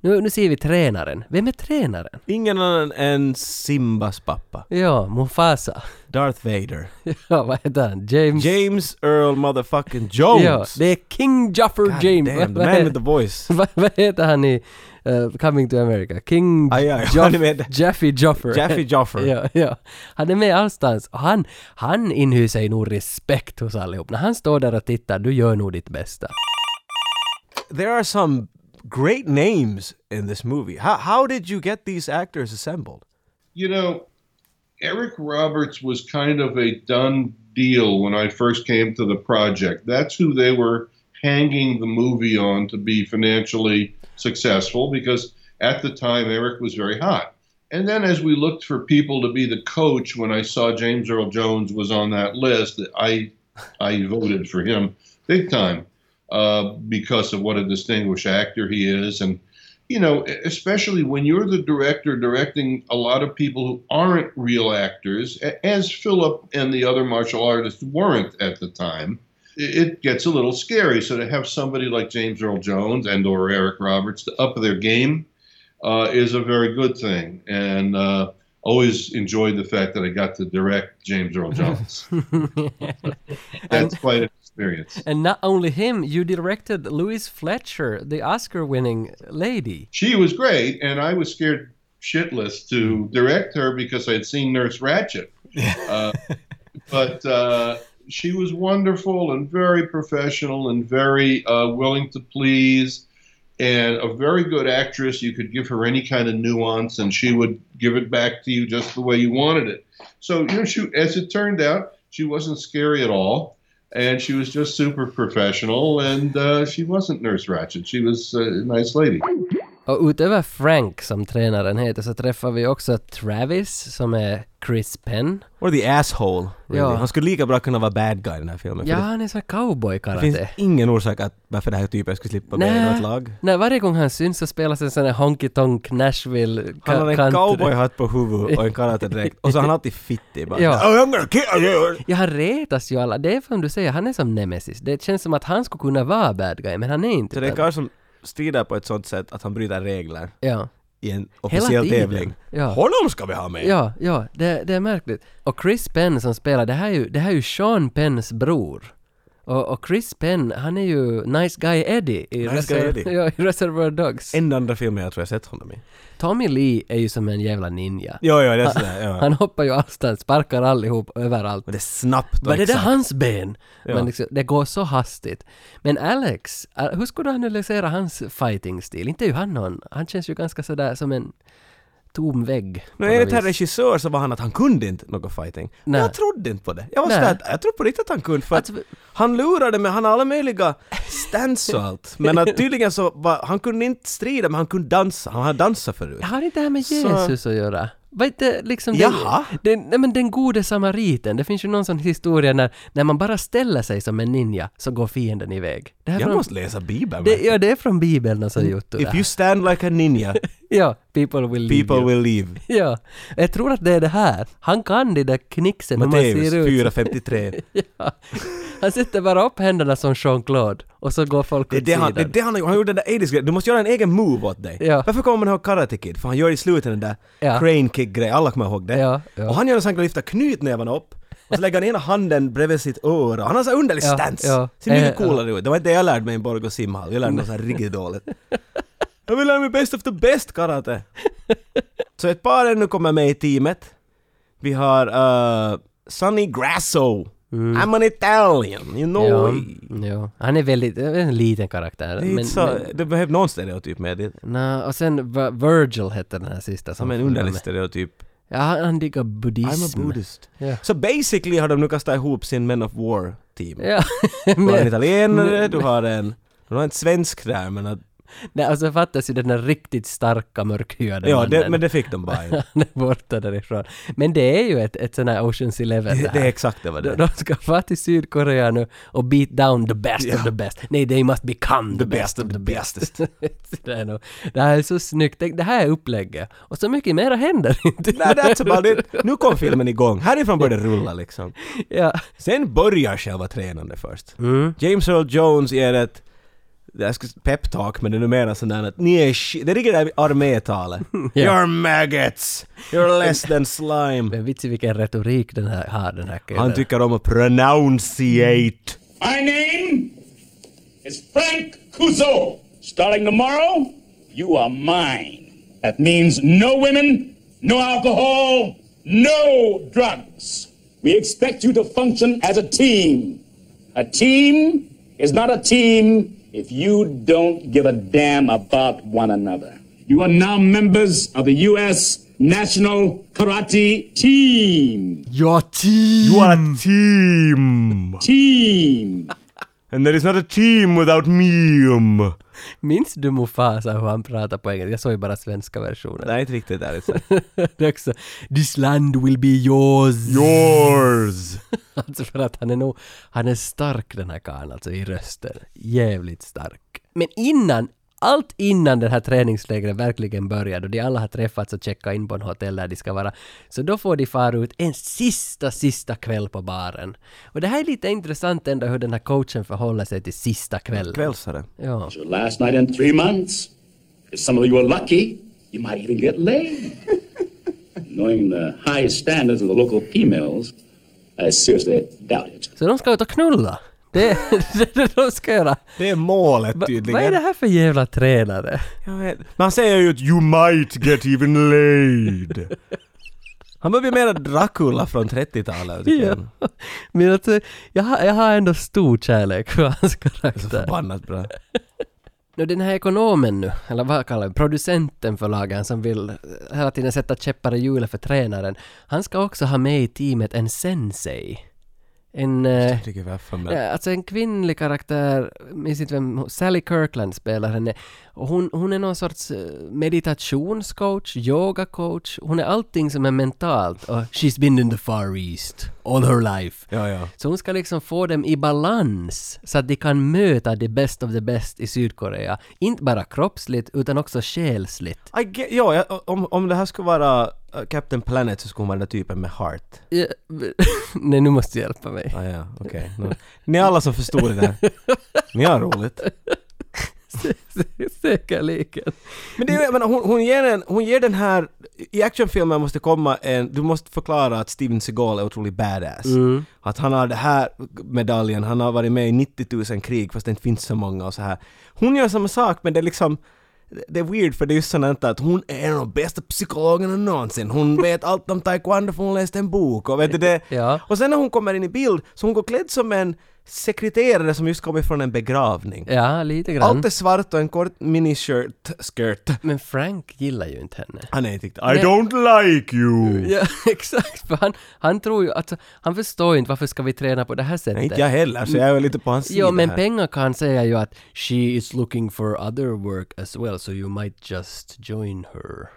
S2: Nu, nu ser vi tränaren. Vem är tränaren?
S1: Ingen annan än Simbas pappa,
S2: Ja, Mufasa.
S1: Darth Vader.
S2: Ja, vad heter han? James...
S1: James Earl motherfucking Jones!
S2: Ja, det är King Jaffer
S1: God
S2: James.
S1: Damn, the
S2: Vad-
S1: man with the voice.
S2: vad, vad heter han i eh, Coming to America? King
S1: Aj, aj,
S2: Joff-
S1: han är med.
S2: Jaffe Joffer.
S1: Jaffe Joffer.
S2: ja, ja. Han är med allstans. Och han, han inhyser ju nog respekt hos allihop. När han står där och tittar, du gör nog ditt bästa.
S1: There are some great names in this movie. How, how did you get these actors assembled?
S7: you know, Eric Roberts was kind of a done deal when I first came to the project. That's who they were hanging the movie on to be financially successful because at the time Eric was very hot. And then as we looked for people to be the coach, when I saw James Earl Jones was on that list, I I voted for him big time uh, because of what a distinguished actor he is and you know, e, especially when you're the director directing a lot of people who aren't real actors, a- as Philip and the other martial artists weren't at the time, i- it gets a little scary. So to have somebody like James Earl Jones and or Eric Roberts to up their game uh, is a very good thing. And uh, always enjoyed the fact that I got to direct James Earl Jones. That's quite an experience.
S2: And not only him, you directed Louise Fletcher, the Oscar-winning lady.
S7: she was great, and I was scared shitless to direct her because I'd seen Nurse Ratchet. Uh, but uh, she was wonderful and very professional and very uh, willing to please and a very good actress. You could give her any kind of nuance, and she would give it back to you just the way you wanted it. So, you know, she, as it turned out, she wasn't scary at all. And she was just super professional, and uh, she wasn't Nurse Ratchet. She was uh, a nice lady.
S2: Och utöver Frank, som tränaren heter, så träffar vi också Travis, som är Chris Penn.
S1: Or the asshole, really.
S2: Ja.
S1: Han skulle lika bra kunna vara bad guy i den här filmen.
S2: Ja,
S1: för
S2: han är sån
S1: det finns
S2: cowboy-karate.
S1: ingen orsak att varför den här typen skulle slippa bli i något lag.
S2: nej, varje gång han syns så spelas en sån här honky tonk Nashville ka-
S1: Han har en
S2: country.
S1: cowboyhatt på huvudet och en karatedräkt och så har han alltid fittig bara.
S2: Ja. Typ
S1: Oh, I'm gonna kill you!
S2: Ja, han retas ju alla. Det är som du säger, han är som Nemesis. Det känns som att han skulle kunna vara bad guy, men han är inte
S1: Så det är en
S2: bad-
S1: karl som strider på ett sånt sätt att han bryter regler
S2: Ja.
S1: i en
S2: Hela
S1: officiell
S2: tiden.
S1: tävling.
S2: Ja.
S1: Honom ska vi ha med!
S2: Ja, ja, det, det är märkligt. Och Chris Penn som spelar, det här är ju, det här är ju Sean Penns bror. Och, och Chris Penn, han är ju Nice Guy Eddie i,
S1: Nice Guy Eddie.
S2: Ja, i Reservoir Dogs.
S1: Enda andra filmen jag tror jag sett honom i.
S2: Tommy Lee är ju som en jävla ninja.
S1: Jo, jo, det är sådär, ja.
S2: Han hoppar ju allstans, sparkar allihop, överallt.
S1: Men det är snabbt och
S2: Var det där
S1: exakt.
S2: hans ben?
S1: Ja.
S2: Men liksom, det går så hastigt. Men Alex, eh, hur skulle du analysera hans fighting-stil? Inte är ju han någon. Han känns ju ganska sådär som en tom vägg. på
S1: Men
S2: något
S1: enligt herr
S2: vis.
S1: regissör så var han att han kunde inte något fighting. Men
S2: Nej.
S1: Jag trodde inte på det. Jag var
S2: Nej.
S1: sådär, att jag tror på riktigt att han kunde för att
S2: Alltså-
S1: han lurade mig, han har alla möjliga stunts och allt. Men att tydligen så var, han kunde inte strida men han kunde dansa, han hade dansat förut.
S2: Har inte det här med
S1: Så-
S2: Jesus att göra? Vad är det liksom...
S1: Jaha.
S2: Den, den, nej men den gode samariten. Det finns ju någon sån historia när, när man bara ställer sig som en ninja så går fienden iväg. Det här
S1: Jag
S2: från,
S1: måste läsa bibeln.
S2: det, ja, det är från Bibeln och så gjort det
S1: If
S2: där.
S1: you stand like a ninja,
S2: Ja, people will leave
S1: people
S2: you.
S1: will leave.
S2: Ja, jag tror att det är det här. Han kan det där knixen hur man
S1: Matteus
S2: ser ut.
S1: 4.53.
S2: Ja. Han sätter bara upp händerna som Jean-Claude och så går folk
S1: Det är
S2: åt
S1: det han, det är
S2: sidan.
S1: det han har gjort. Han gjorde den där 80s grejen. Du måste göra en egen move åt dig.
S2: Ja.
S1: Varför kommer man ihåg Karate Kid? För han gör i slutet den där
S2: Ja.
S1: crane kick grejen alla kommer ihåg det.
S2: Ja, ja.
S1: Och han gör en sån här grej, lyfter knytnävarna upp och så lägger han ena handen bredvid sitt öra. Han har en sån här underlig
S2: Ja,
S1: stance.
S2: ja.
S1: Ser mycket
S2: Eh, ja.
S1: coolare ut. Det var inte det jag lärde mig i Borgå simhall. Jag lärde mig något så här riktigt dåligt. Jag vill lära mig best of the best karate. så ett par ännu kommer med i teamet. Vi har eh, Sonny Grasso I'm an Italian, you know.
S2: Mm. Ja, ja. Han är väldigt, eh, en liten karaktär.
S1: Det, är
S2: men,
S1: inte så,
S2: men,
S1: det behövs någon stereotyp med det.
S2: Nå, och sen Va- Virgil hette den här sista som...
S1: Som en
S2: var
S1: underlig
S2: med.
S1: stereotyp.
S2: Ja, han, han diggar buddhism.
S1: I'm a Buddhist.
S2: Ja.
S1: Så basically har de nu kastat ihop sin Men of War team.
S2: Ja.
S1: Du har en
S2: men,
S1: italienare, du har en... Du har en svensk där men att...
S2: nej, och så fattas ju den där riktigt starka mörkhyade
S1: Ja,
S2: mannen.
S1: det, men det fick de bara inte.
S2: Han är borta därifrån. Men det är ju ett, ett sån här Oceans Eleven
S1: Det,
S2: här.
S1: det är exakt det var
S2: De,
S1: det.
S2: de ska fara till Sydkorea nu och beat down the best of the best. Nej, they must become the, best, of the best. det, är nog, det här är så snyggt. Det, det här är upplägget. Och så mycket mera händer inte.
S1: Nej, that's about it. Nu kom filmen igång. Härifrån började det rulla liksom.
S2: ja.
S1: Sen börjar själva tränande först.
S2: Mm.
S1: James Earl Jones ger ett jag ska peptalk men det är numera sån där att ni är shit, det ligger där i armétalet. You're maggots! You're less than slime.
S2: Men vitsi vilken retorik den här har, den här killen.
S1: Han tycker om att pronunciate.
S4: My name is Frank Cuso. Starting tomorrow, you are mine. That means no women, no alcohol, no drugs. We expect you to function as a team. A team is not a team if you don't give a damn about one another. You are now members of the U.S. National Karate Team.
S2: Ja, team!
S1: What a team!
S4: Team.
S1: And there is not a team without me.
S2: Minns du Mufasa hur han pratar på engelska? Jag såg ju bara svenska versionen.
S1: Nej, inte riktigt ärligt sagt.
S2: det är också This land will be yours.
S1: Yours!
S2: Alltså för att han är nog, han är stark den här karln alltså i rösten. Jävligt stark. Men innan, allt innan det här träningslägret verkligen börjar då de alla har träffats och checkat in på en hotell där de ska vara, så då får de fara ut en sista, sista kväll på baren. Och det här är lite intressant ändå hur den här coachen förhåller sig till sista kvällen.
S1: Kvällsare.
S2: Ja.
S4: Your last night in three months. If some of you are lucky, you might even get laid. Knowing the high standards of the local females, I seriously doubt it.
S2: Så de ska ut och knulla. Det är det, det de ska göra.
S1: Det är målet
S2: Va,
S1: tydligen.
S2: vad är det här för jävla tränare?
S1: Jag vet. Men han säger ju att “You might get even laid”. Han börjar bli mera Dracula från 30-talet tycker jag.
S2: Ja. Men alltså, jag, har- jag har ändå stor kärlek för hans karaktär.
S1: Förbannat bra.
S2: Nu den här ekonomen nu, eller vad kallar vi producenten för lagen som vill eh, hela tiden sätta käppar i hjulet för tränaren. Han ska också ha med i teamet en sensei. En... eh,
S1: Jag tycker varför men...
S2: Ja, alltså en kvinnlig karaktär, minns inte vem, Sally Kirkland spelar henne. Och hon, hon är någon sorts eh, meditationscoach, yogacoach, hon är allting som är mentalt. Och she's been in the far east, all her life.
S1: Ja, ja.
S2: Så hon ska liksom få dem i balans så att de kan möta the best of the best i Sydkorea. Inte bara kroppsligt utan också själsligt.
S1: I get, ja, jag, om, om det här skulle vara äh, Captain Planet så skulle man vara typen med heart.
S2: Ja, Nej, nu måste du hjälpa mig.
S1: Ah, ja, okej. Nå. Ni alla som förstod det där. Ni har roligt.
S2: Säkerligen.
S1: Men det är, jag menar, hon, hon, ger en, hon ger den här... I actionfilmer måste komma en... Du måste förklara att Steven Seagal är otroligt badass.
S2: Mm.
S1: Att han har den här medaljen, han har varit med i 90 000 krig fast det inte finns så många och så här. Hon gör samma sak men det är liksom... Det är weird för det är just sånt att hon är en av de bästa psykologerna någonsin. Hon vet allt om taekwondo för hon läste en bok och vet du det?
S2: Ja.
S1: Och sen när hon kommer in i bild så hon går klädd som en sekreterare som just kommit från en begravning.
S2: Ja, lite grann.
S1: Allt är svart och en kort minishirt, skirt.
S2: Men Frank gillar ju inte henne.
S1: Han är inte riktigt... I don't like you!
S2: Ja, exakt. För han, han tror ju, alltså, han förstår ju inte varför ska vi träna på det här sättet.
S1: Nej, inte jag heller, så jag är väl lite på hans sida
S2: Jo, men
S1: här.
S2: pengar kan säga ju att she is looking for other work as well, so you might just join her.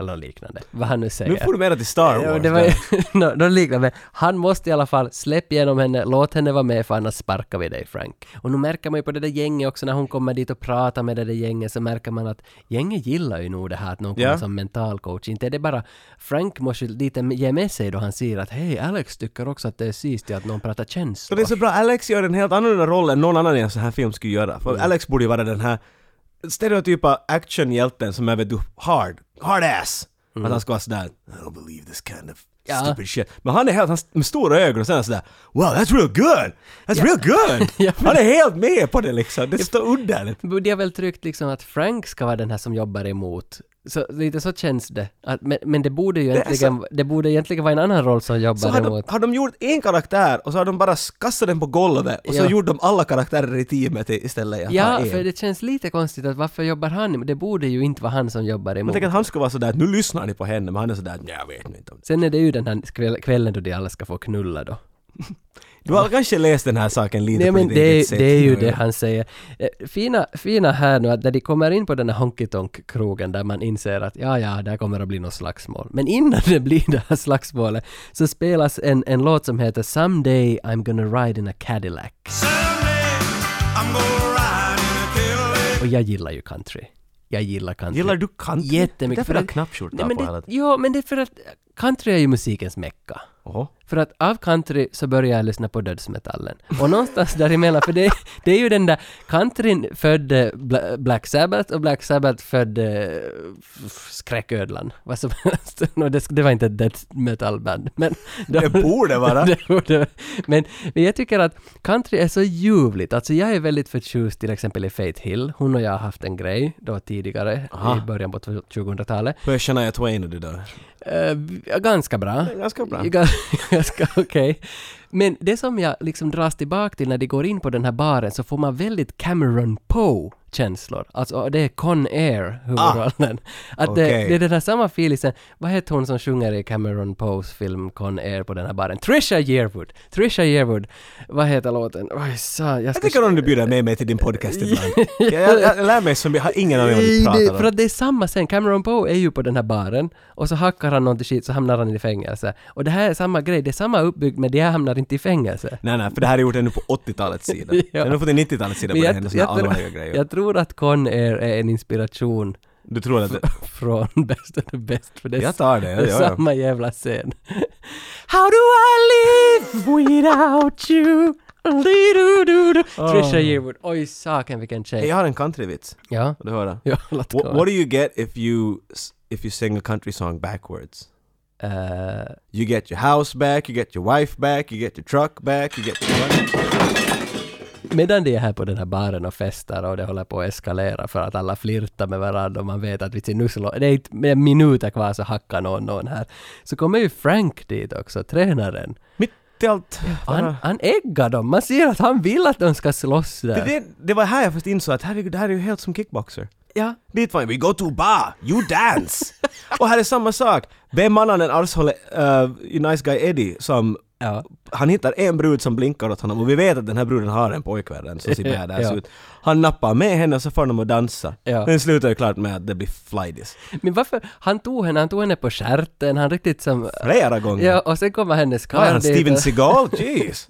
S2: Eller liknande. Vad han nu säger.
S1: Nu får du mera till Star Wars.
S2: Ja, det var
S1: där.
S2: no, no, liknande. Han måste i alla fall släpp igenom henne, låt henne vara med för annars sparkar vi dig Frank. Och nu märker man ju på det där gänget också när hon kommer dit och pratar med det där gänget så märker man att gänget gillar ju nog det här att någon kommer
S1: Ja.
S2: som mental coach. Inte är det bara Frank måste ju lite ge med sig då han ser att hej Alex tycker också att det är sist att någon pratar
S1: Så
S2: känslor.
S1: det är så bra, Alex gör en helt annorlunda roll än någon annan i en sån här film skulle göra.
S2: Mm.
S1: För Alex borde ju vara den här stereotypa actionhjälten som är vet du, hard, hard ass. Att han ska vara sådär I don't believe this kind of
S2: Mm. Ja.
S1: stupid shit. Men han är helt, han s- med stora ögon och sen är han sådär Wow, that's real good! That's real good!
S2: Ja, men-
S1: Han är helt med på det liksom, det är så underligt.
S2: Men De har väl tryckt liksom att Frank ska vara den här som jobbar emot Så lite så känns det. Att, men, men det borde ju egentligen, det, borde egentligen vara en annan roll som
S1: Så
S2: jobbar
S1: har de,
S2: emot.
S1: har de gjort en karaktär och så har de bara kastat den på golvet och så
S2: Ja.
S1: gjorde de alla karaktärer i teamet i- istället i att ha
S2: Ja,
S1: en.
S2: för det känns lite konstigt att varför jobbar han? Det borde ju inte vara han som jobbar
S1: Man
S2: emot.
S1: tänker att han skulle vara sådär att nu lyssnar ni på henne, men han är sådär att jag vet nu inte om det.
S2: Sen är det ju den här kväll, kvällen då de alla ska få knulla då.
S1: Du har kanske läst den här saken lite
S2: Nej
S1: på
S2: men
S1: ditt
S2: det,
S1: eget
S2: är-
S1: sätt.
S2: det är ju
S1: Ja,
S2: det
S1: ja.
S2: han säger. Eh, Fina, fina här nu att när de kommer in på den här Honky Tonk-krogen där man inser att ja, ja, där kommer att bli något slagsmål. Men innan det blir det här slagsmålet så spelas en, en låt som heter “Someday I'm gonna ride in a Cadillac” och jag gillar ju country. Jag gillar country.
S1: Gillar du country?
S2: Jättemycket.
S1: Därför har
S2: att-
S1: knappskjorta
S2: Nej, men
S1: på
S2: det-
S1: hela tiden.
S2: Ja, men det är för att country är ju musikens mecka.
S1: Oho.
S2: För att av country så började jag lyssna på dödsmetallen. Och någonstans däremellan, för det, det är ju den där countryn födde Bla, Black Sabbath och Black Sabbath födde eh, f- skräcködlan. Vad som helst. No, det, det var inte ett dödsmetallband. Men de-
S1: Det borde vara.
S2: det borde- men, men jag tycker att country är så ljuvligt. Alltså jag är väldigt förtjust till exempel i Faith Hill. Hon och jag har haft en grej då tidigare i början på 2000-talet.
S1: Hur känner jag Twain och du då?
S2: Eh, ganska bra.
S1: ganska bra.
S2: Ga- ganska okej. Men det som jag liksom dras tillbaka till när de går in på den här baren så får man väldigt Cameron Poe-känslor. Alltså det är Con Air huvudrollen. Att det,
S1: Ah, okej.
S2: det är den här samma filisen. Vad heter hon som sjunger i Cameron Poes film Con Air på den här baren? Trisha Yearwood! Trisha Yearwood. Vad heter låten? Oj, sa, jag
S1: Jag
S2: ska...
S1: tycker om du bjuder med mig till din podcast ibland. jag, jag, jag lär mig som jag har ingen aning om vad du
S2: Nej, det,
S1: pratar
S2: för
S1: om.
S2: att det är samma scen. Cameron Poe är ju på den här baren och så hackar han någonting skit så hamnar han i fängelse. Och det här är samma grej, det är samma uppbygg men det här hamnar inte i fängelse.
S1: Nej, nej, för det här är gjort ännu på 80-talets sida.
S2: Ja.
S1: Jag har nog fått en 90-talets sida på det här,
S2: Men jag, jag,
S1: såna allvarliga
S2: tror,
S1: grejer.
S2: jag tror att Con Air är en inspiration
S1: du tror att...
S2: från Best of the Best. För det är,
S1: Jag tar det, ja,
S2: det är
S1: ja, ja.
S2: samma jävla scen. How do I live without you? Li-du-du-du.
S1: Ah.
S2: Trisha Yearwood. Oj, saken vilken
S1: Hej,
S2: tjej.
S1: jag har en countryvits.
S2: Ja,
S1: Vill du höra?
S2: ja låt
S1: What, what
S2: gå.
S1: do you get if you s- if you sing a country song backwards?
S2: Eh,
S1: You get your house back, you get your wife back, you get your truck back, you get your money.
S2: Medan de är här på den här baren och festar och det håller på att eskalera för att alla flirtar med varandra och man vet att vitsen nu slår, det är inte mer än minuter kvar så hackar någon någon här. Så kommer ju Frank dit också, tränaren.
S1: Mitt i allt.
S2: Han, han äggar dem, man ser att han vill att de ska slåss
S1: Det,
S2: där.
S1: det, det var här jag först insåg att herregud, det här är ju helt som kickboxer.
S2: Ja.
S1: Dit var vi go to bar, you dance! och här är samma sak. Vem annan än arshålet uh, Nice Guy Eddie som
S2: Ja.
S1: han hittar en brud som blinkar åt honom och vi vet att den här bruden har en pojkvän den som ser badass
S2: Ja.
S1: ut. Han nappar med henne och så får de att dansa.
S2: Ja.
S1: Men det slutar ju klart med att det blir flightis.
S2: Men varför, han tog henne, han tog henne på stjärten, han riktigt som...
S1: Flera gånger.
S2: Ja, och sen kommer hennes
S1: Vad är
S2: karl
S1: han,
S2: dit
S1: Steven
S2: och-
S1: Seagal? Jeez!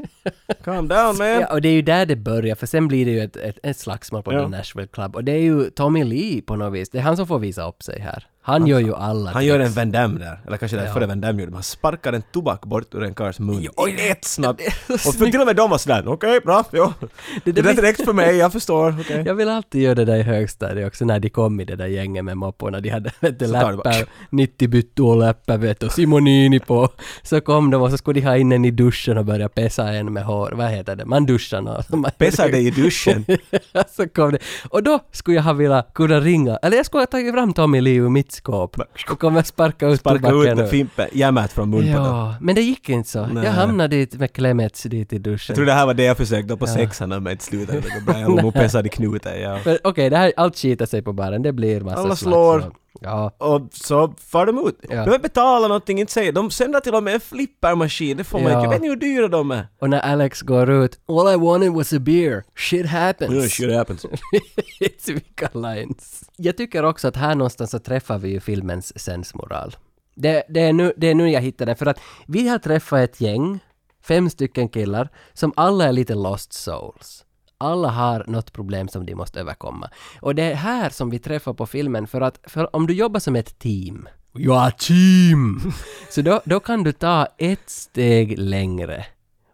S1: Calm down man!
S2: Ja, och det är ju där det börjar, för sen blir det ju ett, ett, ett slagsmål på
S1: Ja.
S2: The Nashville Club. Och det är ju Tommy Lee på något vis, det är han som får visa upp sig här. Han gör ju alla
S1: Alltså, Han gör
S2: tricks.
S1: en Van Damme där, eller kanske det är före Van Damme gjorde, men han sparkar en tobak bort ur en karls mun. Oj, det är ett snabbt! Och för till och med de var sådär, okej, bra, ja. Det,
S2: där
S1: där är
S2: blir-
S1: direkt för mig, jag förstår, okej.
S2: Jag vill alltid göra det där i högstadiet också när de kom i det där gänget med mopporna. De hade vet du,
S1: Så tar du bara-
S2: läppar, 90 byttor och läppar vet du, och Simonini på. Så kom de och så skulle de ha in en i duschen och börja pessa en med hår. Vad heter det? Man duschar någon.
S1: Pessar dig i duschen.
S2: så kom det. Och då skulle jag ha velat kunna ringa, eller jag skulle ha tagit fram Tommy Lee ur mitt skåp och kommer sparka ut
S1: Sparka ut
S2: tobaken
S1: med
S2: ur.
S1: fimpen, jämmet från mun på dem.
S2: Ja, men det gick inte så.
S1: Nej.
S2: Jag hamnade dit med Clemets dit i duschen.
S1: Jag tror det här var det jag försökte på sexan, men inte slutade det bra. Jag låg och pessade i knuten, ja.
S2: Men Okej, det här, allt skitar sig på baren, det blir massa
S1: Alla
S2: slagsmål.
S1: slår.
S2: Ja,
S1: Och så far de ut.
S2: Ja.
S1: De betalar någonting, inte säger. De sänder till och med en flippermaskin, det får man
S2: Ja.
S1: inte. Jag vet ni hur dyra de är?
S2: och när Alex går ut “All I wanted was a beer, shit happens”.
S1: happens.
S2: It's vilka lines. Jag tycker också att här någonstans så träffar vi ju filmens sensmoral. Det, det, är nu, det är nu jag hittar den, för att vi har träffat ett gäng, fem stycken killar, som alla är lite lost souls. Alla har något problem som de måste överkomma. Och det är här som vi träffar på filmen, för att för om du jobbar som ett team, you are team! så då, då kan du ta ett steg längre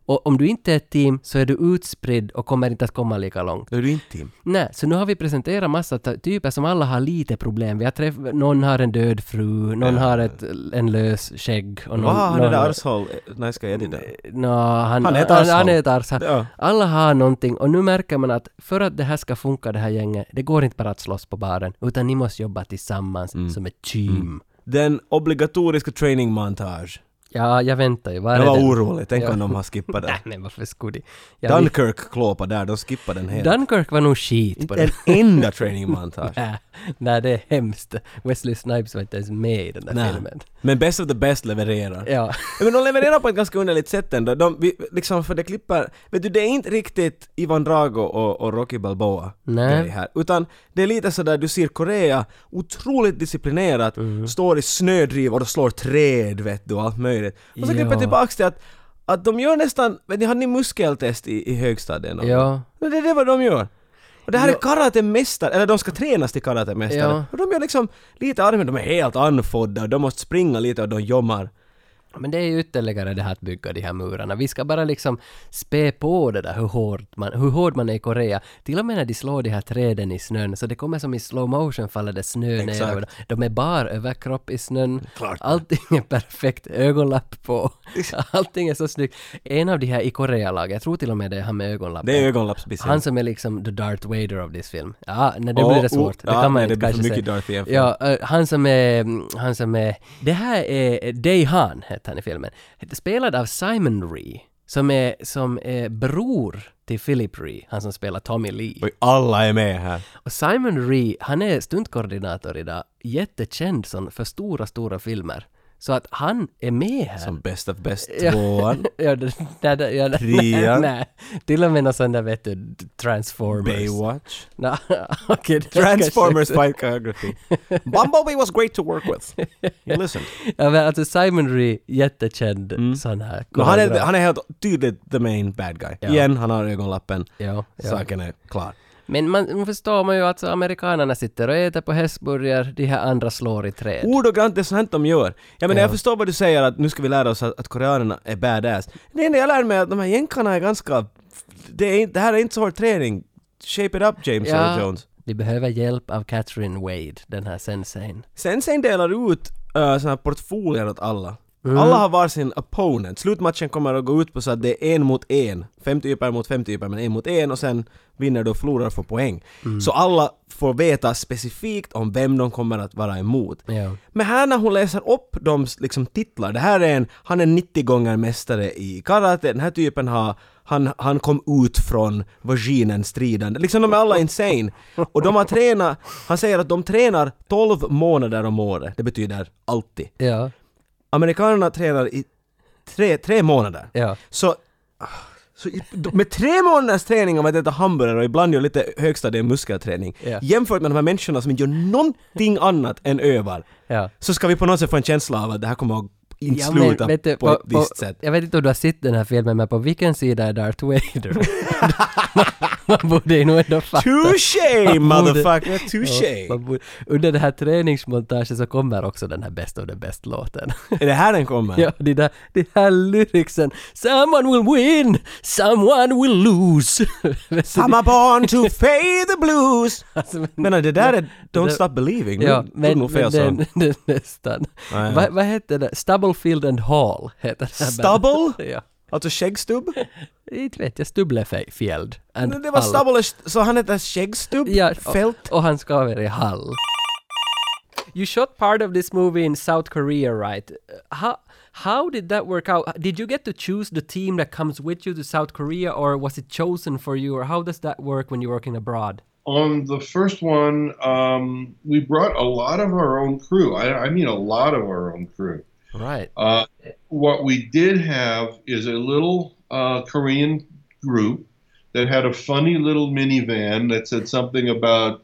S2: Och om du inte är ett team så är du utspridd och kommer inte att komma lika långt.
S1: Då är du inte team.
S2: Nej, så nu har vi presenterat massa ta- typer som alla har lite problem. Vi har träff- någon har en död fru, någon har ett, en lös skägg och någon...
S1: Vad har det
S2: någon
S1: där arshål? Nej, ska jag edita?
S2: Nå, han,
S1: Han
S2: han
S1: är
S2: är
S1: ett
S2: han,
S1: arshåll.
S2: är ett arshåll.
S1: Ja.
S2: Alla har någonting och nu märker man att för att det här ska funka det här gänget, det går inte bara att slåss på baren, utan ni måste jobba tillsammans
S1: Mm.
S2: som ett team.
S1: Den obligatoriska training montage.
S2: Ja, jag väntar ju. Var är
S1: Det var
S2: den?
S1: oroligt, tänk
S2: Ja.
S1: om de har skippat den.
S2: Nej, men varför skulle de? Ja, vi-
S1: Dunkirk klåpa där, de skippade den helt.
S2: Dunkirk var nog skit på
S1: inte
S2: den.
S1: en enda training montage.
S2: Äh, Nej, det är hemskt. Wesley Snipes var inte ens med i den där
S1: Nej.
S2: filmen.
S1: Men Best of the Best levererar.
S2: Ja.
S1: Men de levererar på ett ganska underligt sätt ändå. De, vi, liksom, för det klipper... Vet du, det är inte riktigt Ivan Drago och, och Rocky Balboa
S2: Nej.
S1: grej här. Utan det är lite sådär, du ser Korea, otroligt disciplinerat,
S2: Mm.
S1: står i snödrivor och slår träd vet du och allt möjligt. Och så
S2: Ja.
S1: klipper tillbaks till att, att de gör nästan... Vet ni, hade ni muskeltest i, i högstadiet? någon
S2: Ja.
S1: men det är det vad de gör. Och det här är
S2: Ja.
S1: karatemästare, eller de ska tränas till karatemästare.
S2: Ja.
S1: Och de gör liksom lite armen, de är helt anfodda och de måste springa lite och de jommar.
S2: Men det är ju ytterligare det här att bygga de här murarna. Vi ska bara liksom spä på det där hur hård man, hur hård man är i Korea. Till och med när de slår de här träden i snön, så det kommer som i slow motion faller det snö ner
S1: Exakt.
S2: över dem. De är bar överkropp i snön. Allting är perfekt. Ögonlapp på. Allting är så snyggt. En av de här i Korea-laget, jag tror till och med det är han med ögonlappen.
S1: Det är ögonlappsbissel.
S2: Han som är liksom the Darth Vader av this film. Ja, nej, det
S1: Åh,
S2: blir det
S1: oh,
S2: svårt. det
S1: ja,
S2: kan man
S1: nej,
S2: inte
S1: det blir för
S2: kanske
S1: mycket
S2: säga.
S1: Darth i en film.
S2: Ja, eh, han som är, mm, han som är, det här är eh, Day Han, heter han i filmen. Spelad av Simon Ree, som är, som är bror till Philip Ree, han som spelar Tommy Lee.
S1: Och alla är med här.
S2: Och Simon Ree, han är stuntkoordinator idag, jättekänd sån för stora, stora filmer. Så att han är med här.
S1: Som best of best
S2: Ja.
S1: tvåan.
S2: ja, det, nej, det- ja,
S1: Trean.
S2: nej, nej. Till och med någon sån där vet du, Transformers.
S1: Baywatch.
S2: Nå, okej, det kanske-
S1: Transformers fight choreography. Bumblebee was great to work with. He listened.
S2: Ja, men alltså Simon Ree, jättekänd sån här.
S1: Mm. Men han, är,
S2: koreograf.
S1: han är helt tydligt the main bad guy.
S2: Ja.
S1: Igen, han har ögonlappen.
S2: Ja, ja.
S1: Saken är klar.
S2: Men man, man förstår man ju att alltså, amerikanerna sitter och äter på hästburgare, de här andra slår i träd.
S1: Ordagrant, det är sånt de gör. Jag menar,
S2: Ja.
S1: jag förstår vad du säger att nu ska vi lära oss att, att koreanerna är badass. Det enda jag lär mig är att de här jänkarna är ganska... Det, är, inte- det här är inte så hård träning. Shape it up James
S2: Ja.
S1: Earl Jones.
S2: Vi behöver hjälp av Catherine Wade, den här sensein.
S1: Sen sen delar ut uh, såna här portfolier åt alla. Alla har varsin opponent. Slutmatchen kommer att gå ut på så att det är en mot en. Fem typer mot fem typer, men en mot en och sen vinner du och förlorar får poäng. Så alla får veta specifikt om vem de kommer att vara emot.
S2: Ja.
S1: Men här när hon läser upp de liksom, titlar, det här är en, han är 90 gånger mästare i karate, den här typen har han, han kom ut från vaginen stridande. Liksom de är alla insane. Och de har tränat, han säger att de tränar 12 månader om året. Det betyder alltid.
S2: Ja.
S1: Amerikanerna tränar i tre, tre månader.
S2: Ja.
S1: Så, så i- med tre månaders träning om att äta hamburgare och ibland gör lite högstadie muskelträning
S2: Ja.
S1: jämfört med de här människorna som inte gör någonting annat än övar
S2: Ja.
S1: så ska vi på något sätt få en känsla av att det här kommer att inte
S2: Ja, men
S1: sluta
S2: vet du,
S1: på ett visst sätt.
S2: Jag vet inte om du har sett den här filmen, men på vilken sida är Darth Vader? man borde ju nog ändå fatta.
S1: Touché
S2: Man borde-
S1: motherfucker! Touché!
S2: Ja, man borde- Under den här träningsmontagen så kommer också den här Best of the Best-låten.
S1: Är det här den kommer?
S2: Ja, det där, det här lyricsen. Someone will win, someone will lose. Vet du,
S1: I'm a born to pay the blues!
S2: alltså, men-
S1: Men det där är Don't
S2: det-
S1: Stop Believing,
S2: Ja,
S1: det
S2: men,
S1: men, nog fel
S2: men den,
S1: sång.
S2: den nästan.
S1: Ja, ja.
S2: Vad vad heter det? Stubblefield and Hall heter det här bandet.
S1: Stubble?
S2: ja.
S1: Alltså skäggstubb?
S2: Inte vet jag, Stubblefjeld and
S1: Det var
S2: Hall.
S1: Stubble, så han heter skäggstubb?
S2: Ja,
S1: Fält?
S2: och, och han ska vara i Hall. You shot part of this movie in South Korea, right? How, how did that work out? Did you get to choose the team that comes with you to South Korea, or was it chosen for you, or how does that work when you're working abroad?
S7: on the first one, um, we brought a lot of our own crew. I, I mean, a lot of our own crew.
S2: Right.
S7: Uh, what we did have is a little uh, Korean group that had a funny little minivan that said something about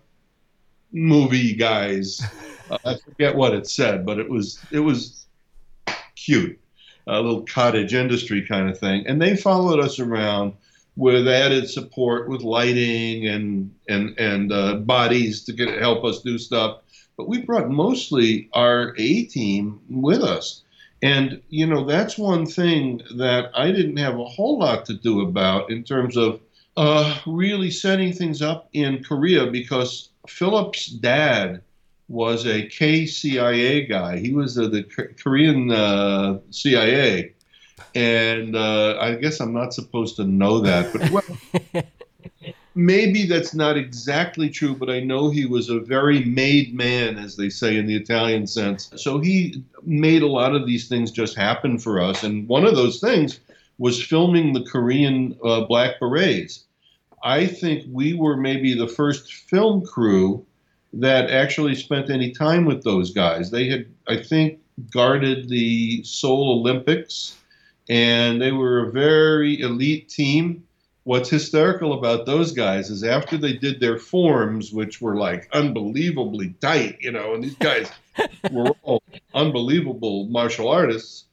S7: movie guys. Uh, I forget what it said, but it was it was cute, a little cottage industry kind of thing. And they followed us around with added support with lighting and and and uh, bodies to get, help us do stuff. But we brought mostly our A team with us And, you know, that's one thing that I didn't have a whole lot to do about in terms of uh, really setting things up in Korea because Philip's dad was a KCIA guy. He was uh, the K- Korean uh, CIA. And uh, I guess I'm not supposed to know that, but well, maybe that's not exactly true, but I know he was a very made man, as they say in the Italian sense. So he made a lot of these things just happen for us. And one of those things was filming the Korean uh, Black Berets. I think we were maybe the first film crew that actually spent any time with those guys. They had, I think, guarded the Seoul Olympics, and they were a very elite team. What's hysterical about those guys is after they did their forms, which were like unbelievably tight, you know, and these guys were all unbelievable martial artists.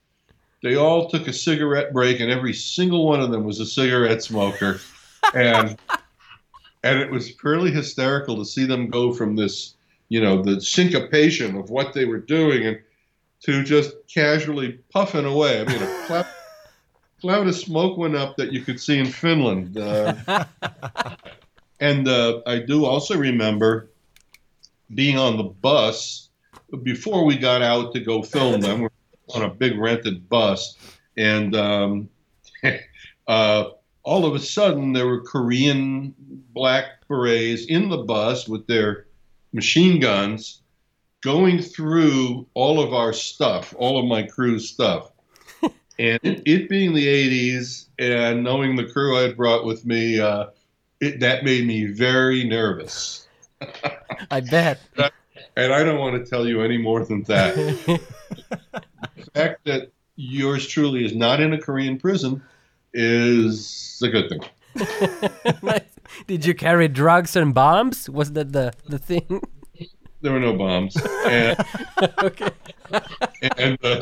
S7: They all took a cigarette break, and every single one of them was a cigarette smoker, and and it was purely hysterical to see them go from this, you know, the syncopation of what they were doing, and to just casually puffing away. I mean, a cloud, cloud of smoke went up that you could see in Finland. Uh, and uh, I do also remember being on the bus before we got out to go film them. We're on a big rented bus, and um, uh, all of a sudden there were Korean black berets in the bus with their machine guns going through all of our stuff, all of my crew's stuff. and it, it being the 80s and knowing the crew I had brought with me, uh, it, that made me very nervous.
S2: I bet.
S7: And I don't want to tell you any more than that. the fact that yours truly is not in a Korean prison is a good thing.
S2: Nice. Did you carry drugs and bombs? Was that the, the thing?
S7: There were no bombs. And,
S2: okay.
S7: and, uh,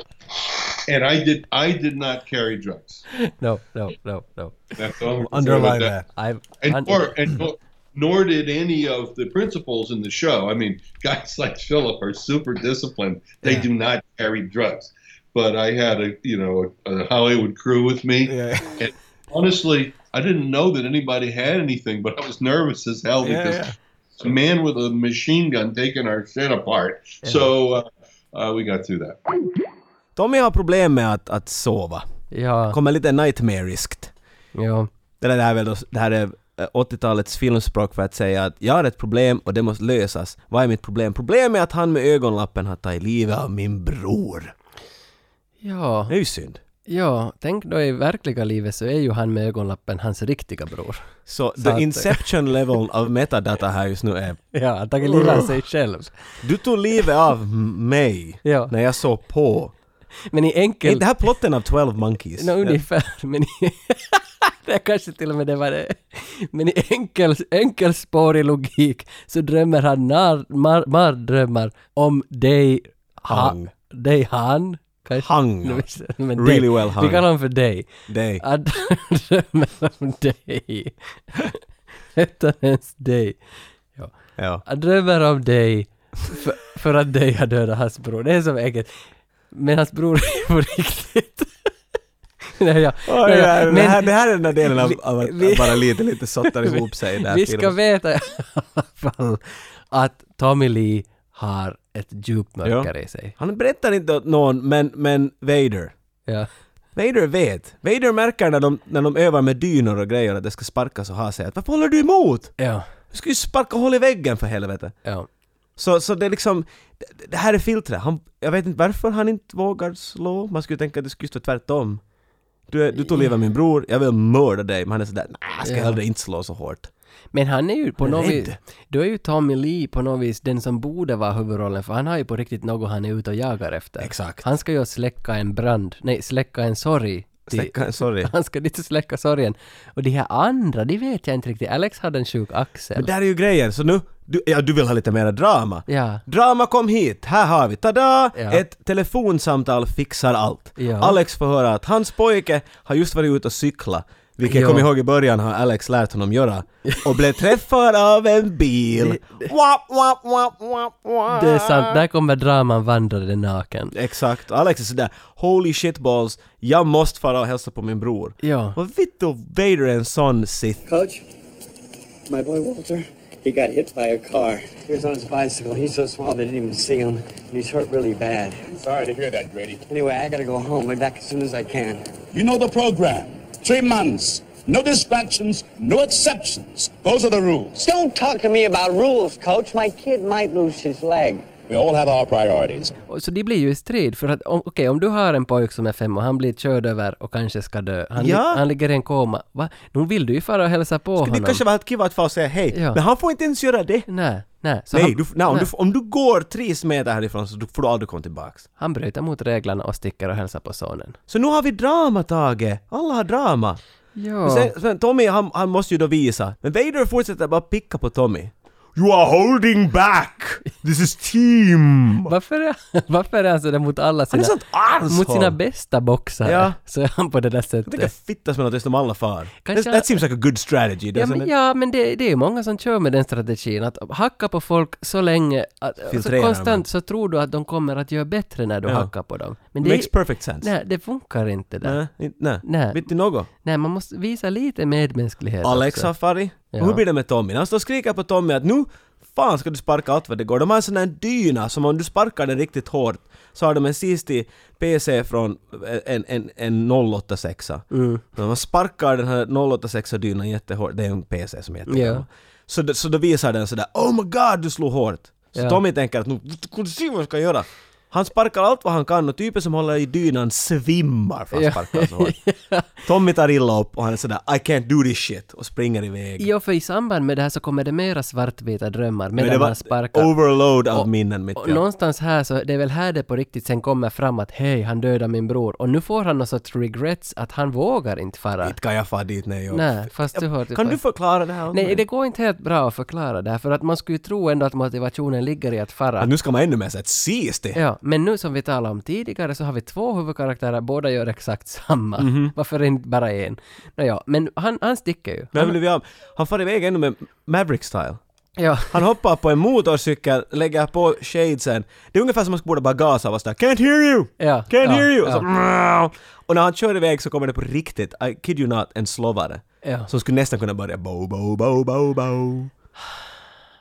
S7: and I did I did not carry drugs.
S2: No, no, no, no.
S7: That's all I'm concerned
S8: Underline
S7: with
S8: that.
S2: I've
S7: and
S2: un-
S7: nor, and nor, nor did any of the principals in the show. I mean, guys like Philip are super disciplined. They do not carry drugs. But I had a you know a, a Hollywood crew with me.
S8: Yeah.
S7: And honestly, I didn't know that anybody had anything, but I was nervous as hell
S8: Yeah,
S7: because
S8: yeah.
S7: a man with a machine gun taking our shit apart. So uh, uh, we got through that.
S1: Tommy har problem med att, att sova.
S2: ja,
S1: Kommer lite nightmariskt.
S2: ja,
S1: Det där är väl då, det här är eh, 80-talets filmspråk för att säga att jag har ett problem och det måste lösas. Vad är mitt problem? Problemet är att han med ögonlappen har tagit livet av min bror.
S2: ja,
S1: Det är ju synd.
S2: ja. Tänk då i verkliga livet så är ju han med ögonlappen hans riktiga bror.
S1: Så
S2: Sant.
S1: the inception level av metadata här just nu är
S2: Ja, han tagit livet av sig själv.
S1: Du tog livet av m- mig
S2: Ja.
S1: när jag såg på.
S2: Men i
S1: Är
S2: enkel...
S1: det här plotten av 12 Monkeys?
S2: Nå, ungefär. Men i... det kanske till och med det var det. Men i enkel, enkelspårig logik så drömmer han när, mar, mardrömmar om dig... Ha,
S1: Hang.
S2: dig han. Kanske,
S1: Hang.
S2: Nu visste jag, Men
S1: Really
S2: dig.
S1: well hung.
S2: Vi kallar honom för dig.
S1: Dig.
S2: Att han drömmer om dig. Utan ens dig. Ja.
S1: Ja.
S2: Han drömmer om dig för, för att dig har dödat hans bror. Det är som eget. Men hans bror är på riktigt. Nej, ja.
S1: Oj,
S2: Nej, ja.
S1: ja, det,
S2: Men
S1: här, det här är den där delen av, av att
S2: vi-
S1: att bara lite, lite sottar ihop sig i den här
S2: vi ska
S1: filmen.
S2: veta i alla fall att Tommy Lee har ett djupt mörker i sig.
S1: Han berättar inte åt någon, men, men Vader.
S2: Ja.
S1: Vader vet. Vader märker när de, när de övar med dynor och grejer att det ska sparkas och ha sig att varför håller du emot?
S2: Ja.
S1: Du ska ju sparka hål i väggen för helvete.
S2: Ja.
S1: Så, så det är liksom, det- det här är filtret. Han, jag vet inte varför han inte vågar slå. Man skulle tänka att det skulle stå tvärtom. Du, är- du tog livet av min bror, jag vill mörda dig. Men han är sådär, nej jag ska
S2: Ja.
S1: hellre inte slå så hårt.
S2: Men han är ju på
S1: Han är
S2: något
S1: rädd.
S2: vis, då är ju Tommy Lee på något vis den som borde vara huvudrollen för han har ju på riktigt något han är ute och jagar efter.
S1: Exakt.
S2: Han ska ju släcka en brand, nej släcka en sorg. till-
S1: Släcka, sorry.
S2: Han ska dit och släcka sorgen. Och de här andra, de vet jag inte riktigt. Alex hade en sjuk axel.
S1: Men där är ju grejen, så nu, du, ja du vill ha lite mer drama.
S2: Ja.
S1: Drama kom hit, här har vi, tada!
S2: Ja.
S1: Ett telefonsamtal fixar allt.
S2: Ja.
S1: Alex får höra att hans pojke har just varit ute och cykla Vilket jag
S2: Ja.
S1: kommer ihåg i början har Alex lärt honom göra. Och blev träffad av en bil. Wap, wap, wap, wap, wap.
S2: Det är sant, där kommer draman vandrade naken.
S1: Exakt, och Alex är sådär Holy shit balls, jag måste fara och hälsa på min bror.
S2: Ja.
S1: Vad vitt då Vader är en sån Sith?
S10: Coach, my boy Walter, he got hit by a car. He was on his bicycle. He's so small they didn't even see him. And he's hurt really bad.
S4: Sorry to hear that, Grady.
S10: Anyway, I gotta go home. Be back as soon as I can.
S4: You know the program. Three months. No distractions, no exceptions. Those are the rules.
S10: Don't talk to me about rules, Coach. My kid might lose his leg.
S4: We all have our priorities.
S2: Och Så de blir ju i strid, för att om- okej, om du har en pojk som är fem och han blir körd över och kanske ska dö, han, li-
S1: Ja.
S2: han ligger i en koma, va? Nu vill du ju fara och hälsa på
S1: Det
S2: honom.
S1: kanske var helt kiva att fara och säga hej,
S2: Ja.
S1: men han får inte ens göra det.
S2: Nej, nej. Så
S1: Nej,
S2: han,
S1: du, f- nej, om,
S2: nej.
S1: du, f- om du går tre meter härifrån så du- får du aldrig komma tillbaks.
S2: han bryter mot reglerna och sticker och hälsar på sonen.
S1: Så nu har vi drama Tage, alla har drama. Men Sen, sen Tommy han, han måste ju då visa, men Vader fortsätter bara picka på Tommy. You are holding back! This is team!
S2: Varför är, varför är han sådär mot alla
S1: Han
S2: sina...
S1: är sånt arshåll!
S2: mot sina bästa boxare
S1: Ja.
S2: så är han på det där
S1: Jag tänker
S2: sättet.
S1: fitta som något som alla far. That,
S2: Kanske-
S1: that seems like a good strategy.
S2: Ja
S1: doesn't
S2: men,
S1: it?
S2: ja, men det, det är ju många som kör med den strategin att hacka på folk så länge, att,
S1: Filtrera
S2: så
S1: dem.
S2: konstant så tror du att de kommer att göra bättre när du
S1: Ja.
S2: hackar på dem. Men det,
S1: Makes perfect sense.
S2: nej, det funkar inte där. Nej.
S1: Nej, inte- nej.
S2: Nej.
S1: Vet du något?
S2: man måste visa lite medmänsklighet
S1: Alex
S2: också.
S1: har farit.
S2: Ja.
S1: Och Hur blir det med Tommy? Han står och skriker på Tommy att nu fan ska du sparka allt vad det går. De har en sån där dyna som om du sparkar den riktigt hårt så har de en sistig PC från en, en, en 086. Mm. Man sparkar den här 086 dynan jättehårt. Det är en PC som är jättegammal.
S2: Ja.
S1: Så, det- så då visar den sådär ”Oh my god, du slog hårt”. Så
S2: Ja.
S1: Tommy tänker att nu kan du se vad jag ska göra. Han sparkar allt vad han kan och typen som håller i dynan svimmar för han
S2: Ja.
S1: sparkar så hårt. Tommy tar illa upp och han är sådär I can't do this shit och springer iväg.
S2: Ja, för i samband med det här så kommer det mera svartvita drömmar medan
S1: det
S2: han sparkar.
S1: overload av minnen mitt
S2: Och
S1: ja.
S2: någonstans här så, det är väl här det på riktigt sen kommer fram att hej, han dödade min bror. Och nu får han någon sorts regrets att han vågar inte fara.
S1: Inte kan jag fara dit när jag...
S2: Nej, fast du hör till
S1: Kan
S2: fast-
S1: du förklara det här åt
S2: Nej,
S1: mig?
S2: det går inte helt bra att förklara det här, för att man skulle ju tro ändå att motivationen ligger i att fara.
S1: Att nu ska man ännu mer såhär ”Sees det!”
S2: Ja, men nu som vi talade om tidigare så har vi två huvudkaraktärer, båda gör exakt samma.
S1: Mhm.
S2: Varför inte bara en? Nåja, men han, han sticker ju.
S1: Där blev vi av. Han far iväg ännu med Maverick-style.
S2: Ja,
S1: Han hoppar på en motorcykel, lägger på shadesen. Det är ungefär som om man skulle borde bara gasa och vara sådär ”Can't hear you!
S2: Ja,
S1: Can't
S2: ja,
S1: hear you!”
S2: ja.
S1: och, så, "Mrrr." och när han kör iväg så kommer det på riktigt, I kid you not, en slovare.
S2: Ja.
S1: Som skulle nästan kunna börja bo bo bo bo bo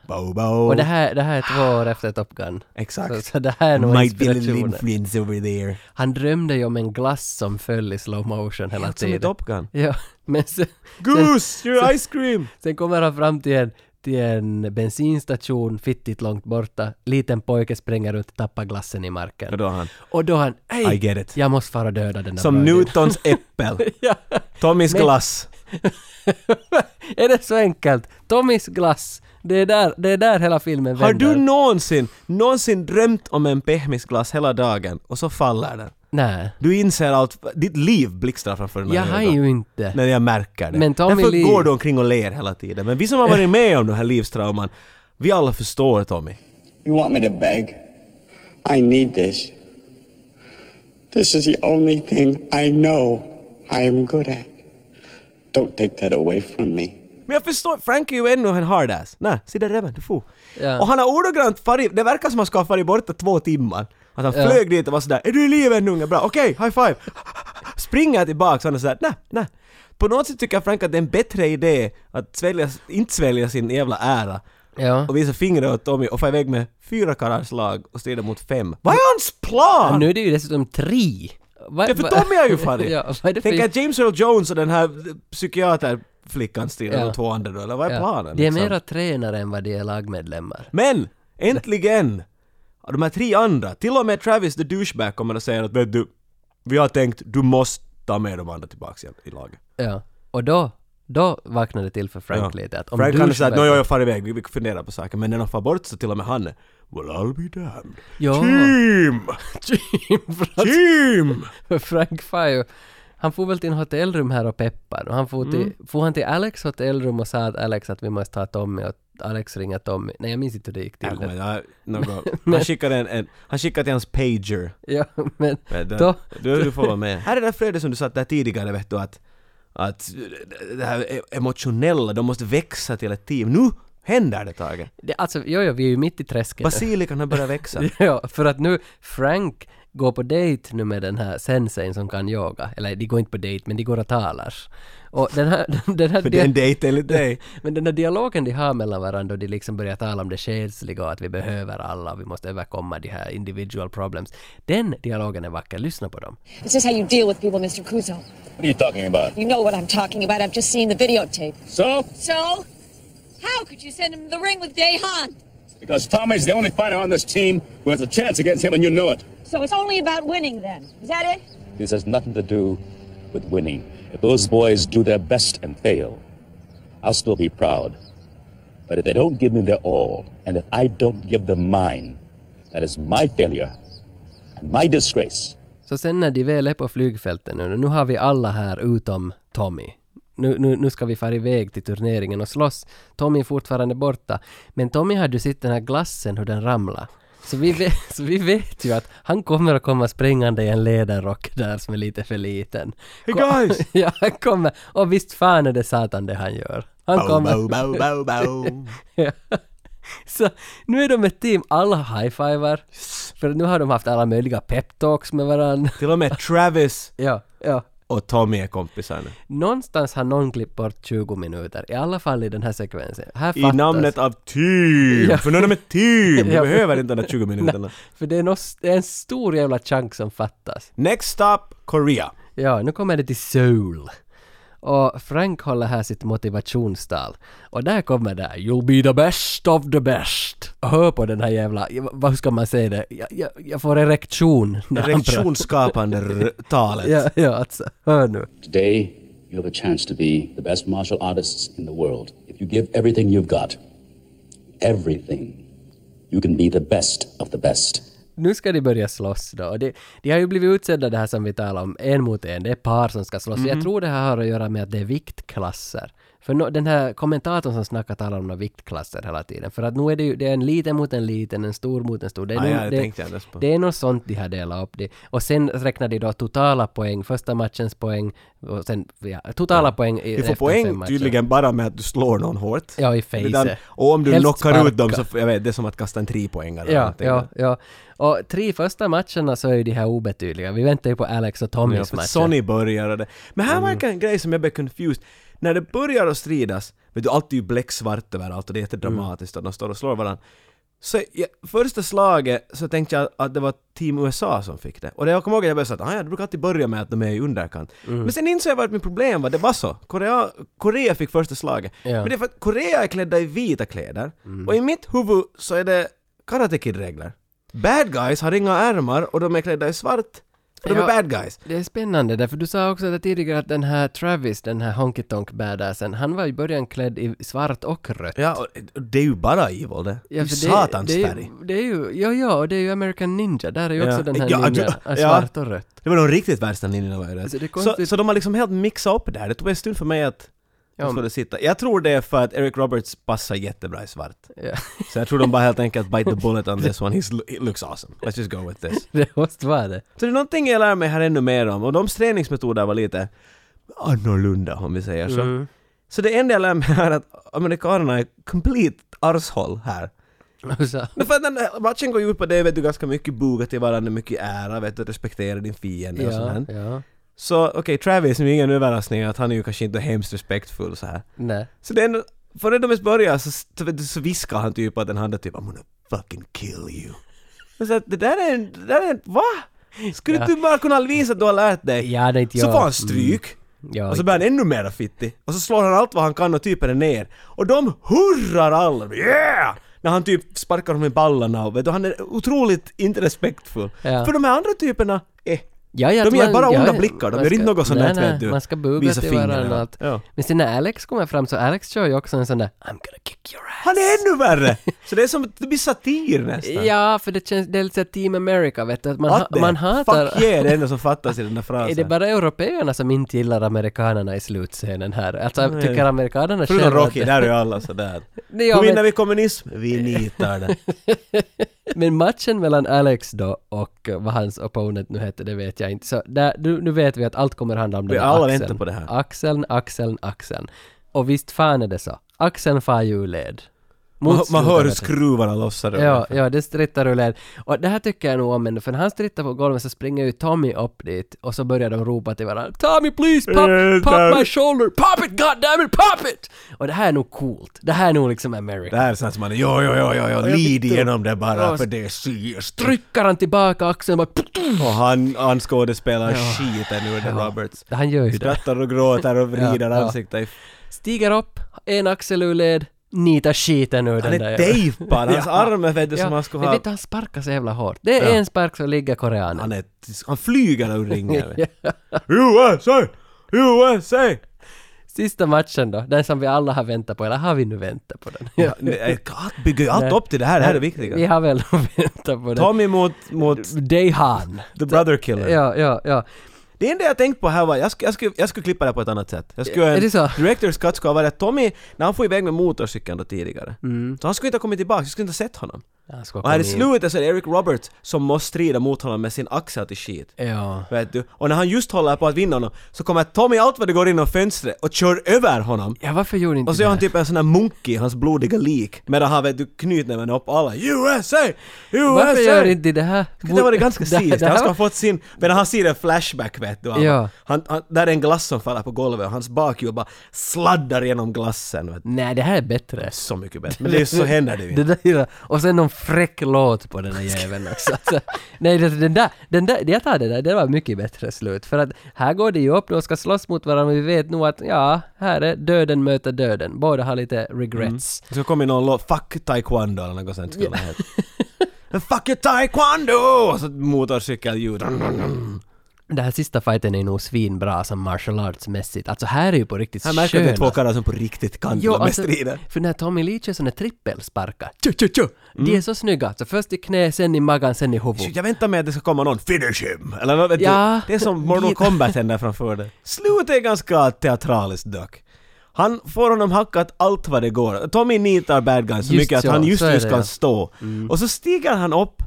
S1: bo bo.
S2: och det här, det här är två år efter Top Gun.
S1: Exakt.
S2: Så, så det här är nog
S1: Might be a little
S2: inspirationen.
S1: influence over there.
S2: Han drömde ju om en glass som föll i slow motion hela
S1: Helt som i
S2: tiden.
S1: Top Gun.
S2: Ja, men sen,
S1: Goose, your ice cream!
S2: Sen kommer han fram till en, till en bensinstation, fittigt långt borta. Liten pojke springer runt, tappar glassen i marken.
S1: Och då han,
S2: Och då han, hej!
S1: I get it.
S2: Jag måste fara och döda den där
S1: Som
S2: bröden."
S1: Newtons äppel.
S2: ja.
S1: Tommys
S2: Men-
S1: glass.
S2: är det så enkelt? Tommys glass. Det är där, det är där hela filmen vänder.
S1: Har du någonsin, någonsin drömt om en pehmisglass hela dagen och så faller den?
S2: Nej.
S1: Du inser allt, ditt liv blixtrar framför dina
S2: Jag har
S1: ögon.
S2: ju inte.
S1: Men jag märker det.
S2: Men Tommy
S1: Därför
S2: Lee-
S1: går du omkring och ler hela tiden. Men vi som har varit med om de här livstrauman, vi alla förstår Tommy.
S10: You want me to beg? I need this. This is the only thing I know I am good at. Don't take that away from me.
S1: Men jag förstår, Frank är ju ännu en hardass. Nej, se där reven, du for.
S2: Ja.
S1: Och han har ordagrant farit, det verkar som han ska ha farit borta två timmar. Att han
S2: Ja.
S1: flög dit och var sådär ”Är du i livet ännu unge? Bra, okej, high five!” Springer tillbaks och han är sådär ”Nej, nej”. På något sätt tycker jag Frank att det är en bättre idé att svälja, inte svälja sin jävla ära
S2: Ja.
S1: och visa fingret åt Tommy och få iväg med fyra karlars lag och strida mot fem. Vad är hans plan?
S2: Nu är det ju dessutom tre. Va,
S1: Ja, för
S2: va-
S1: Tommy har ju farit!
S2: ja, vad är det för...
S1: Tänk att James Earl Jones och den här psykiaterflickan strider
S2: Ja.
S1: mot två andra då, eller vad är planen?
S2: Det är
S1: liksom?
S2: mera tränare än vad de är lagmedlemmar.
S1: Men! Äntligen! Av De här tre andra, till och med Travis the douchebag kommer att säga att vet du, vi har tänkt du måste ta med de andra tillbaks igen i laget.
S2: Ja. Och då, då vaknade det till för Frank lite att om
S1: Frank
S2: du
S1: kan säga att
S2: själv-
S1: "Nå, ja, jag far iväg, vi vi funderar på saker, men när de far bort så till och med han är Well I'll be damned.
S2: Ja.
S1: Team! Team!
S2: Frank far ju... Han får väl till en hotellrum här och peppar. Och han får,
S1: Mm.
S2: till, får han till Alex hotellrum och sa att Alex att vi måste ta Tommy och Alex ringa Tommy. Nej, jag minns inte hur det gick till.
S1: Jag kommer inte ihåg något. Han skickade en, en, han skickade till hans pager.
S2: Ja, men
S1: Men det-
S2: då...
S1: Du, du får vara med. Här är det där Fredrik som du satt där tidigare vet du att Att det här e- emotionella, de måste växa till ett team. Nu händer det Tage!
S2: Det, alltså, jo, jo, vi är ju mitt i träsket.
S1: Basilikan har börjat växa.
S2: ja, för att nu Frank går på dejt nu med den här sensein som kan yoga. Eller de går inte på dejt, men de går och talar. Och den här... Den här
S1: För det är en dejt enligt dig.
S2: Men den här dialogen de har mellan varandra och de liksom börjar tala om det själsliga och att vi behöver alla och vi måste överkomma de här individual problems. Den dialogen är vacker, lyssna på dem.
S11: This is how you deal with people, Mr. Kuzo.
S4: What are you talking about?
S11: You know what I'm talking about. I've just seen the videotape.
S4: So?
S11: So? How could you send him to the ring with Dehan?
S4: Because Tommy's the only fighter on this team who has a chance against him, and you know it.
S11: So it's only about winning then. Is that it?
S12: This has nothing to do with winning. If those boys do their best and fail, I'll still be proud. But if they don't give me their all, and if I don't give them mine, that is my failure and my disgrace.
S2: Så sen när de väl är på flygfälten nu, nu har vi alla här utom Tommy. Nu, nu, nu ska vi fara iväg till turneringen och slåss. Tommy är fortfarande borta. Men Tommy hade ju sett den här glassen hur den ramlade. Så vi, vet, så vi vet ju att han kommer att komma springande i en läderrock där som är lite för liten.
S1: Hey, guys!
S2: ja, han kommer. Och visst fan är det satan det han gör. Han
S8: Bow,
S2: kommer.
S8: bow, bow, bow, bow.
S2: Ja. Så nu är de ett team, alla high-fivar. För nu har de haft alla möjliga peptalks med varandra.
S1: Till och med Travis
S2: Ja, ja.
S1: och Tommy är kompisar nu.
S2: Någonstans har någon klippt bort 20 minuter, i alla fall i den här sekvensen. Här
S1: I
S2: fattas-
S1: namnet av team!
S2: Ja.
S1: För nu är de ett team!
S2: Ja.
S1: De behöver inte de där 20 minuterna.
S2: Nej, För det är, nås- det är en stor jävla chunk som fattas.
S1: Next stop, Korea.
S2: Ja, nu kommer det till Seoul. Och Frank håller här sitt motivationstal. Och där kommer det “You'll be the best of the best”. Och hör på den här jävla... Vad ska man säga det? Jag, jag, jag får erektion. när han pratar.
S1: Reaktionsskapande r- talet.
S2: Ja, ja, alltså. Hör nu.
S12: Today, you have a chance to be the best martial artists in the world. If you give everything you've got, everything, you can be the best of the best.
S2: nu ska de börja slåss då. Och de, de har ju blivit utsedda det här som vi talar om, en mot en. Det är par som ska slåss.
S1: Mm.
S2: Jag tror det här har att göra med att det är viktklasser. För nå- den här kommentatorn som snackar talar om några viktklasser hela tiden. För att nu är det ju det är en liten mot en liten, en stor mot en stor. Det är,
S1: Ah,
S2: nog-
S1: ja, det
S2: det,
S1: tänkte jag alldeles på.
S2: det är något sånt de har delat upp det. Och sen räknar de då totala poäng, första matchens poäng och sen ja, totala poäng i-
S1: Du får
S2: efter fem
S1: poäng
S2: matcher.
S1: tydligen bara med att du slår någon hårt.
S2: Ja, i
S1: Det
S2: face.
S1: där- Och om du
S2: Helst
S1: knockar
S2: sparka.
S1: ut dem så, f- jag vet, det är som att kasta en trepoängare. eller
S2: Ja,
S1: någonting.
S2: ja, ja. Och tre första matcherna så är ju de här obetydliga. Vi väntar ju på Alex och
S1: Ja,
S2: Tommys
S1: för
S2: matcher.
S1: Sonny börjar och det. Men
S2: Mm.
S1: här verkar en grej som jag blev confused. När det börjar att stridas, vet du, allt är ju bläcksvart överallt och det är
S2: Mm.
S1: jättedramatiskt och de står och slår varandra. Så jag, första slaget så tänkte jag att det var Team USA som fick det. Och det jag kommer ihåg att jag började säga att "Ah, ja, det brukar alltid börja med att de är i underkant.
S2: Mm.
S1: Men sen insåg jag vad mitt problem var, det var så. Korea, Korea fick första slaget.
S2: Ja. Mm.
S1: Men det är för att Korea är klädda i vita kläder. Och i mitt huvud så är det Karate Kid-regler. Bad guys har inga ärmar och de är klädda i svart. För de är
S2: Ja.
S1: bad guys.
S2: Det är spännande därför du sa också där tidigare att den här Travis, den här Honky Tonk badassen, han var i början klädd i svart och rött.
S1: Ja, och- och det är ju bara evil det.
S2: Ja,
S1: det är
S2: för
S1: satans
S2: det,
S1: färg.
S2: Det är ju, ja, ja, och det är ju American Ninja, där är ju också
S1: Ja.
S2: den här
S1: Ja,
S2: ninjan,
S1: du- ja.
S2: ah, svart och rött.
S1: Det var de riktigt värsta ninjorna var ju
S2: Alltså, det
S1: det.
S2: är
S1: Så,
S2: konstigt.
S1: så de har liksom helt mixat upp det här. Det tog en stund för mig att
S2: Ja,
S1: att få
S2: men-
S1: det sitta. Jag tror det är för att Eric Roberts passar jättebra i svart.
S2: Ja.
S1: Så jag tror de bara helt enkelt bite the bullet on this one. He's, he looks awesome. Let's just go with this.
S2: Det måste vara det.
S1: Så det är någonting jag lär mig här ännu mer om. Och de träningsmetoder var lite annorlunda om vi säger så.
S2: Mm.
S1: Så det enda jag lär mig är att amerikanerna är complete arshåll här.
S2: Och så-
S1: Men för att den här matchen går ju ut på det, vet du, ganska mycket buga till varandra, mycket ära, vet du, respektera din fiende och
S2: ja,
S1: sånt här.
S2: ja.
S1: Så okej, Travis, nu är ingen överraskning att han är ju kanske inte hemskt respektfull så här.
S2: Nej.
S1: Så det är ändå, före de ens börjar så, så, vet du, så viskar han typ att den andra typ I'm gonna fucking kill you. Och Så att det där är en, det där är en, va? Skulle du bara kunna visa att du har lärt dig?
S2: Ja, det är
S1: så
S2: inte jag. Mm.
S1: får han stryk.
S2: Ja,
S1: Och så blir han ännu mer fittig. Och så slår han allt vad han kan och typen är ner. Och de hurrar alla! Yeah! När han typ sparkar dem i ballarna och vet du, han är otroligt inte respektfull.
S2: Ja.
S1: För de här andra typerna, eh.
S2: Ja, ja,
S1: De
S2: att
S1: ger
S2: man-
S1: bara
S2: ja,
S1: onda
S2: ja,
S1: blickar, de
S2: man
S1: gör inte
S2: ska-
S1: något sånt
S2: nej,
S1: där,
S2: nej,
S1: vet du,
S2: Man ska buga
S1: visa
S2: till
S1: fingrar
S2: varandra och
S1: och
S2: allt.
S1: allt. Ja.
S2: Men sen när Alex kommer fram så Alex kör ju också en sån där I'm gonna kick your ass.
S1: Han är ännu värre! Så det är som, det blir satir nästan.
S2: Ja, för det känns, det är lite så här Team America vet du, att man,
S1: Att
S2: ha,
S1: det,
S2: man hatar...
S1: Fuck yeah, det är det enda som fattas i den där frasen.
S2: Är det bara européerna som inte gillar amerikanerna i slutscenen här? Alltså jag
S1: Nej.
S2: tycker amerikanerna
S1: Förutom
S2: själva att-
S1: Rocky, där är ju alla sådär.
S2: Nej, ja,
S1: Hur vinner
S2: men-
S1: vi kommunism? Vi nitar det.
S2: Men matchen mellan Alex då och eh, vad hans opponent nu hette, det vet jag inte. Så där, nu, nu vet vi att allt kommer handla om
S1: Vi
S2: den här
S1: alla
S2: axeln.
S1: väntar på det här.
S2: Axeln, axeln, axeln. Och visst fan är det så. Axeln far ju ur led.
S1: Man,
S2: Mot
S1: man hör hur
S2: slutet.
S1: skruvarna lossar.
S2: Ja, ja, det strittar ur led. Och det här tycker jag nog om ändå, för när han strittar på golvet så springer ju Tommy upp dit och så börjar de ropa till varandra Tommy please
S1: Eh,
S2: pop,
S1: Tommy.
S2: pop my shoulder, pop it god damn it, pop it! Och det här är nog coolt. Det här är nog liksom America.
S1: Det här är sånt som man jo, jo, jo, jo, jo,
S2: jag
S1: lid
S2: tyckte-
S1: igenom det bara
S2: Ja,
S1: för det är syst.
S2: Trycker han tillbaka axeln och bara...
S1: Och han, han skådespelar
S2: Ja.
S1: skiten ur den
S2: Ja,
S1: Roberts.
S2: han gör ju det.
S1: Skrattar och gråter och vrider
S2: Ja, ja.
S1: ansiktet i
S2: Stiger upp, en axel ur led, nitar skiten ur
S1: Han
S2: den
S1: är
S2: där.
S1: tejpad, hans arm är vet du, som han skulle
S2: Men
S1: ha-
S2: vet du, han sparkar så jävla hårt. Det är
S1: Ja.
S2: en spark så ligger koreanen.
S1: Han, är, han flyger ur ringen.
S2: Ja.
S1: USA! USA!
S2: Sista matchen då, den som vi alla har väntat på, eller har vi nu väntat på den?
S1: Ja, nej, allt bygger ju allt
S2: Nej.
S1: upp till det här, det här är det
S2: Nej,
S1: viktiga.
S2: Vi har väl väntat på den.
S1: Tommy mot, mot
S2: Dehan.
S1: The Brother Killer.
S2: Ja, ja, ja.
S1: Det enda jag tänkte på här var, jag skulle, jag skulle, jag skulle klippa det på ett annat sätt. Jag skulle,
S2: Är det så?
S1: Director's cut skulle ha varit att Tommy, när han får iväg med motorcykeln då tidigare,
S2: Mm.
S1: så han skulle inte ha kommit tillbaka, jag skulle inte ha sett honom.
S2: Han ska
S1: Och här i
S2: komma in.
S1: slutet så är det Eric Roberts som måste strida mot honom med sin axel till skit.
S2: Ja.
S1: Vet du? Och när han just håller på att vinna honom, så kommer Tommy allt vad det går in genom fönstret och kör över honom.
S2: Ja, varför gjorde inte
S1: Och så
S2: det
S1: gör han
S2: här?
S1: typ en sån här munk i hans blodiga lik, medan han vet du knytnäven upp alla USA! USA!
S2: Varför gör inte det här?
S1: Alltså, Det var det ganska
S2: Det-
S1: sist.
S2: det
S1: Han
S2: här
S1: ska ha
S2: var-
S1: fått sin... Men han ser en flashback vet du. Han,
S2: Ja.
S1: han, han, där är en glass som faller på golvet och hans bakhjul bara sladdar genom glassen. Vet du.
S2: Nej, det här är bättre.
S1: Så mycket bättre. Men det är, så händer det ju
S2: Det
S1: inte.
S2: där gillar- och sen någon fräck låt på den där jäveln också. Alltså, nej, det- den där, den där, jag tar det där, det var mycket bättre slut. För att här går det ju upp, de ska slåss mot varandra, vi vet nog att ja, här är döden möter döden. Båda har lite regrets.
S1: Det ska komma in någon låt, 'Fuck Taekwondo' eller något sånt skulle det heta. Men Fuck you Taekwondo! Och så motorcykelljud.
S2: Den här sista fighten är nog svinbra som martial arts-mässigt. Alltså här är ju på riktigt
S1: Här märker du att det är två
S2: sköna-
S1: karlar som på riktigt kan
S2: Jo,
S1: till och med
S2: alltså,
S1: strida.
S2: för när Tommy Lee kör såna trippelsparkar, tju, tju, tju, de är så snygga. Så först i knä, sen i magen, sen i huvudet.
S1: Jag väntar mig att det ska komma någon 'Finish him!' Eller något, vet
S2: Ja.
S1: du, Det är som Mortal
S2: Dit.
S1: Kombat-en där framför dig. Slutet är ganska teatraliskt dock. Han får honom hackat allt vad det går. Tommy nitar bad guys så
S2: Just
S1: mycket att
S2: ja,
S1: han just
S2: så är
S1: nu
S2: det,
S1: kan
S2: ja. Mm.
S1: stå. Och så stiger han upp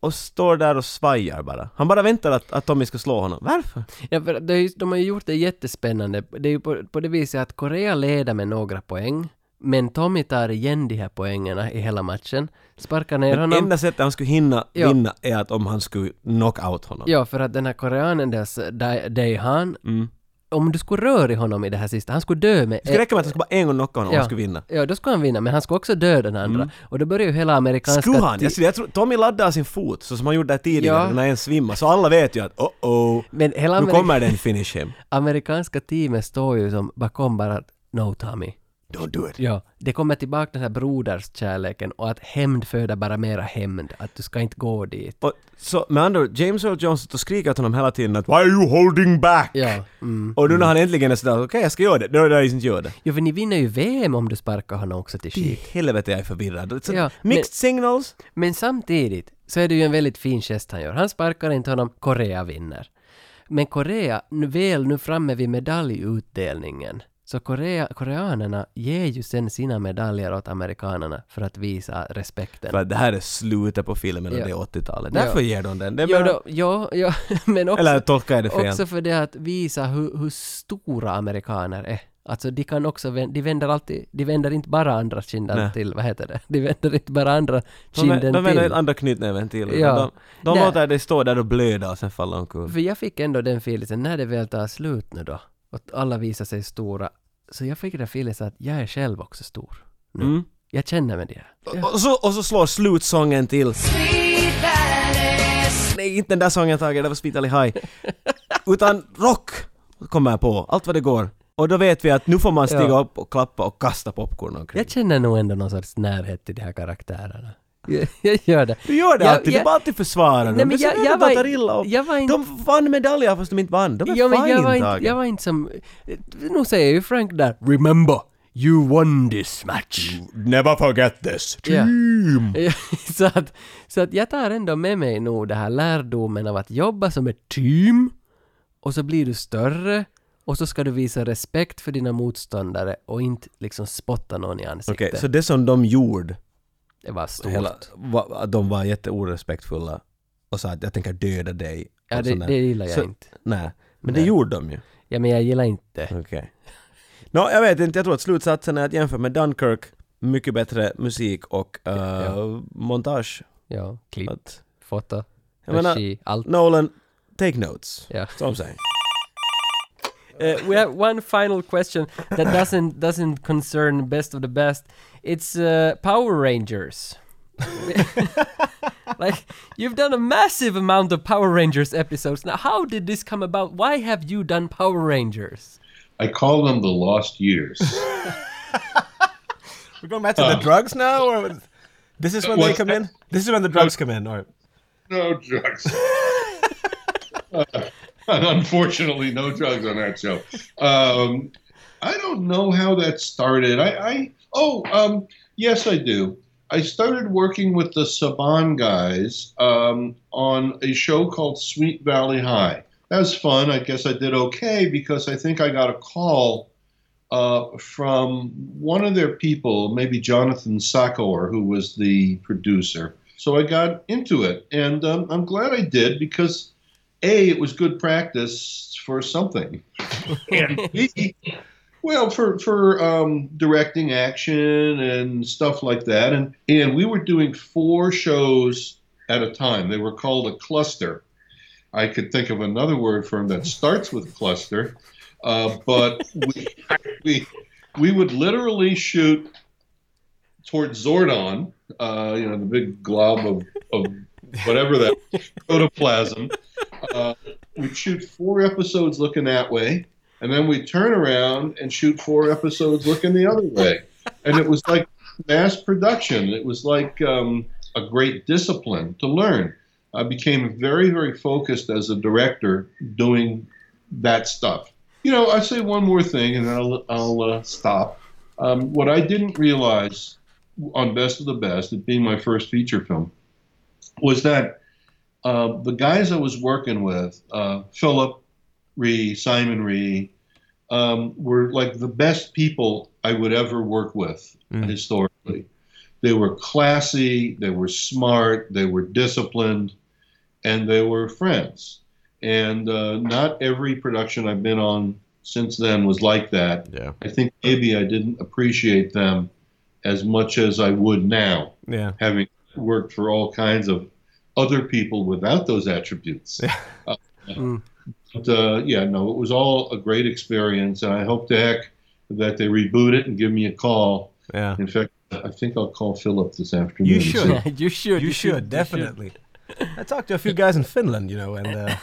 S1: och står där och svajar bara. Han bara väntar att, att Tommy ska slå honom. Varför?
S2: Ja, för det är ju, de har ju gjort det jättespännande. Det är ju på, på det viset att Korea leder med några poäng, men Tommy tar igen de här poängerna i hela matchen, sparkar ner
S1: Men
S2: honom.
S1: enda sättet han skulle hinna
S2: Ja.
S1: vinna är att om han skulle knock out honom.
S2: Ja, för att den här koreanen, deras Dae- Daehan, om du skulle röra i honom i det här sista, han skulle dö med...
S1: Det skulle räcka med att han skulle bara en gång knocka honom och han skulle vinna. Mm.
S2: Ja, då skulle han vinna, men han skulle också dö den andra. Och då börjar ju hela amerikanska...
S1: Skulle han? Alltså,
S2: ti-
S1: Jag, jag tror, Tommy laddade sin fot så som han gjorde där tidigare
S2: Ja.
S1: när en svimmade, så alla vet ju att oh-oh,
S2: Men hela
S1: nu
S2: Amerika-
S1: kommer den finish him.
S2: amerikanska teamet står ju som bakom bara att No Tommy.
S1: Don't do it.
S2: Ja, det kommer tillbaka den här broderskärleken och att hämnd föder bara mera hämnd. Att du ska inte gå dit.
S1: Och, så med andra ord, James Earl Jones står och skriker åt honom hela tiden att ”Why are you holding back?”
S2: Ja. Mm.
S1: Och nu när han äntligen är sådär ”Okej, jag ska göra det”, då är det liksom inte göra det.
S2: Jo, för ni vinner ju VM om du sparkar honom också till
S1: I
S2: skit.
S1: helvete, jag är förvirrad. Så,
S2: Ja,
S1: mixed
S2: men-
S1: signals.
S2: Men samtidigt så är det ju en väldigt fin gest han gör. Han sparkar inte honom, Korea vinner. Men Korea, nu väl nu framme vid medaljutdelningen, så Korea, koreanerna ger ju sen sina medaljer åt amerikanerna för att visa respekten.
S1: För att det här är slutet på filmen och
S2: Ja.
S1: det är 80-talet.
S2: Ja.
S1: Därför ger de den. Det är
S2: Ja,
S1: bara-
S2: då, ja, ja, men också,
S1: Eller tolkar jag det fel?
S2: också för det att visa hur, hur stora amerikaner är. Alltså de kan också, vän- de vänder alltid, de vänder inte bara andra kinden
S1: Nej.
S2: till, vad heter det? De vänder inte bara andra
S1: de
S2: kinden
S1: de vänder
S2: till.
S1: den andra knytnäven till.
S2: Ja.
S1: De, de
S2: Nej.
S1: låter dig stå där och blöda och sen falla omkull.
S2: För jag fick ändå den feelingen, när det väl tar slut nu då, och att alla visar sig stora, så jag fick den feelingen så att jag är själv också stor. Nu.
S1: Mm.
S2: Jag känner med det.
S1: Och så, och så slår slutsången till.
S3: Sweet Valley,
S1: Nej, inte den där sången Tage, det var Sweet Valley High. Utan rock kommer jag på, allt vad det går. Och då vet vi att nu får man stiga
S2: Ja.
S1: upp och klappa och kasta popcorn omkring.
S2: Jag känner nog ändå någon sorts närhet till de här karaktärerna. Jag, jag gör det.
S1: Du gör det
S2: Jag-
S1: alltid, du
S2: jag-
S1: bara alltid försvarar dem.
S2: Nej, men
S1: Du ser
S2: jag-
S1: ut
S2: jag
S1: att de
S2: var-
S1: tar illa upp.
S2: jag var inte-
S1: De vann medaljer fast de inte vann. De är
S2: Ja, men
S1: fine
S2: jag, var inte,
S1: Tage.
S2: jag var inte som... eh, Nu säger ju Frank där “Remember, you won this match”.
S1: Never forget this. Typ.
S2: Ja.
S1: Mm.
S2: så, att, så att jag tar ändå med mig nog det här lärdomen av att jobba som ett team och så blir du större och så ska du visa respekt för dina motståndare och inte liksom spotta någon i ansiktet.
S1: Okej, så det som de gjorde
S2: Det var stort.
S1: Hela, va, att de var jätteorespektfulla och sa att jag tänker döda dig.
S2: Ja,
S1: och
S2: det-
S1: sån där.
S2: det gillar jag inte.
S1: Nej, men det
S2: Nej.
S1: gjorde de ju.
S2: Ja, men jag gillar inte.
S1: Okej. Nå, jag vet inte, jag tror att slutsatsen är att jämfört med Dunkirk, mycket bättre musik och eh, montage.
S2: Ja, klipp,
S1: Att,
S2: foto,
S1: jag menar,
S2: regi, allt.
S1: Nolan, take notes.
S2: Ja.
S1: Som säger.
S2: Uh, we have one final question that doesn't doesn't concern best of the best. It's uh, Power Rangers. like you've done a massive amount of Power Rangers episodes. Now, how did this come about? Why have you done Power Rangers?
S7: I call them the lost years.
S8: We're going back to the
S7: Uh,
S8: drugs now, or this is when they
S7: what's
S8: come
S7: that?
S8: in. This is when the drugs come in, or
S7: no drugs. Uh, and unfortunately, no drugs on that show. Um, I don't know how that started. I, I oh um, yes, I do. I started working with the Saban guys um, on a show called Sweet Valley High. That was fun. I guess I did okay because I think I got a call uh, from one of their people, maybe Jonathan Sakor, who was the producer. So I got into it, and um, I'm glad I did because a it was good practice for something, and b well for for um, directing action and stuff like that. And and we were doing four shows at a time. They were called a cluster. I could think of another word for them that starts with cluster, uh, but we, we we would literally shoot towards Zordon, uh, you know, the big glob of, of whatever that protoplasm. Uh, we'd shoot four episodes looking that way, and then we'd turn around and shoot four episodes looking the other way. And it was like mass production. It was like um, a great discipline to learn. I became very, very focused as a director doing that stuff. You know, I say one more thing, and then I'll, I'll uh, stop. Um, what I didn't realize on Best of the Best, it being my first feature film, was that uh, the guys I was working with, uh, Philip Ree, Simon Ree, um, were like the best people I would ever work with historically. They were classy, they were smart, they were disciplined, and they were friends. And uh, not every production I've been on since then was like that.
S1: Yeah.
S7: I think maybe I didn't appreciate them as much as I would now,
S1: Yeah.
S7: having worked for all kinds of other people without those attributes. Uh, But uh, yeah, no, it was all a great experience, and I hope to heck that they reboot it and give me a call.
S1: Yeah.
S7: In fact, I think I'll call Philip this afternoon.
S8: you
S7: and see-
S8: should,
S2: you should,
S8: you should definitely. I talked to a few guys in Finland, you know, and uh,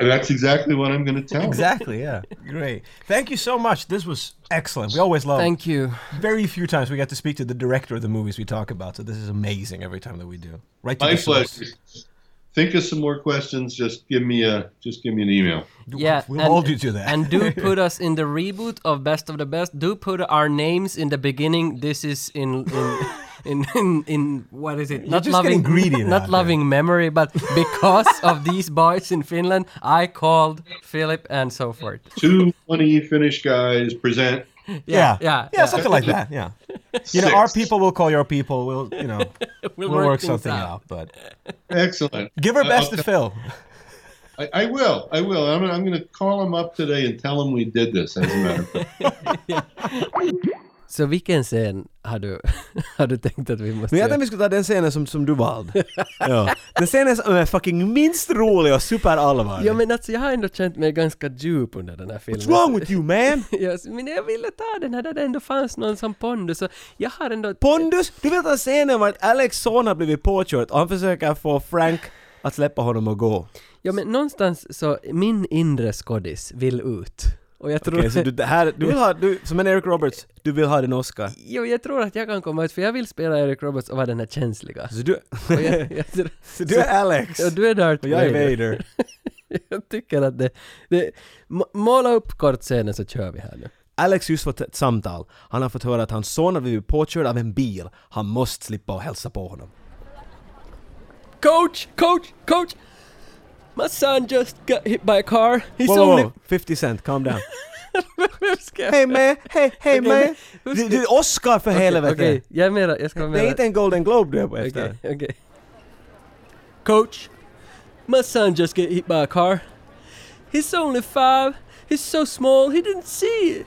S7: And that's exactly what I'm going to tell. him.
S8: exactly, yeah, great. Thank you so much. This was excellent. We always love.
S2: Thank you.
S8: Very few times we get to speak to the director of the movies we talk about, so this is amazing every time that we do. Right to
S7: My
S8: the source.
S7: pleasure. Think of some more questions. Just give me a just give me an email.
S2: Yeah,
S8: we'll hold you to that.
S2: and do put us in the reboot of Best of the Best. Do put our names in the beginning. This is in in in, in, in what is it? not
S8: just getting
S2: loving
S8: greedy now,
S2: not
S8: yeah.
S2: loving memory, but because of these boys in Finland, I called Philip and so forth.
S7: Two funny Finnish guys present.
S8: Yeah.
S2: yeah,
S8: Yeah, something like that. Yeah. You know, our people will call your people. We'll, you know, we'll, work,
S2: work things
S8: something
S2: out.
S8: out. but
S7: Excellent.
S8: give her
S7: I-
S8: best
S7: I'll-
S8: to Phil.
S7: I, I will. I will. I'm, I'm going to call him up today and tell him we did this. As a matter of fact.
S2: Så vilken scen har du har du tänkt att vi måste?
S1: Men jag
S2: göra?
S1: tänkte vi skulle ta den scenen er som, som du valde. ja. Den scenen som är fucking minst rolig och superallvarlig.
S2: Ja men alltså jag har ändå känt mig ganska djup under den här filmen.
S1: What's wrong with you man?
S2: Yes, men jag ville ta den här där det ändå fanns någon som pondus så jag har ändå...
S1: Pondus, du vet att scenen var att Alex son har blivit påkörd och han försöker få Frank att släppa honom och gå.
S2: Ja men någonstans så, min inre skådis vill ut. Och jag tror...
S1: Okej, så du, det här, du vill ha, du, som en Eric Roberts, du vill ha den Oscar.
S2: Jo, jag tror att jag kan komma ut för jag vill spela Eric Roberts och vara den här känsliga.
S1: Så du,
S2: Och jag, jag, tror-
S1: så
S8: er
S1: du är Alex
S2: och du är Darth
S1: och jag är
S2: Vader.
S1: Vader.
S2: jag tycker att det... det må- måla upp kort scenen så kör vi här nu.
S1: Alex just fått ett samtal. Han har fått höra att hans son har blivit påkörd av en bil. Han måste slippa och hälsa på honom.
S2: Coach! Coach! Coach! My son just got hit by a car. He's
S1: Whoa, whoa,
S2: only...
S1: whoa. 50 Cent, calm down. Hej med, hej, hej
S2: Okej,
S1: med.
S2: men-
S1: Du, du är Oscar för helvete.
S2: Okej, jag är mera, jag ska vara
S1: Det är
S2: mera-
S1: inte en Golden Globe du är på efter.
S2: Okay, okay. Coach, my son just got hit by a car. He's only five. He's so small. He didn't see it.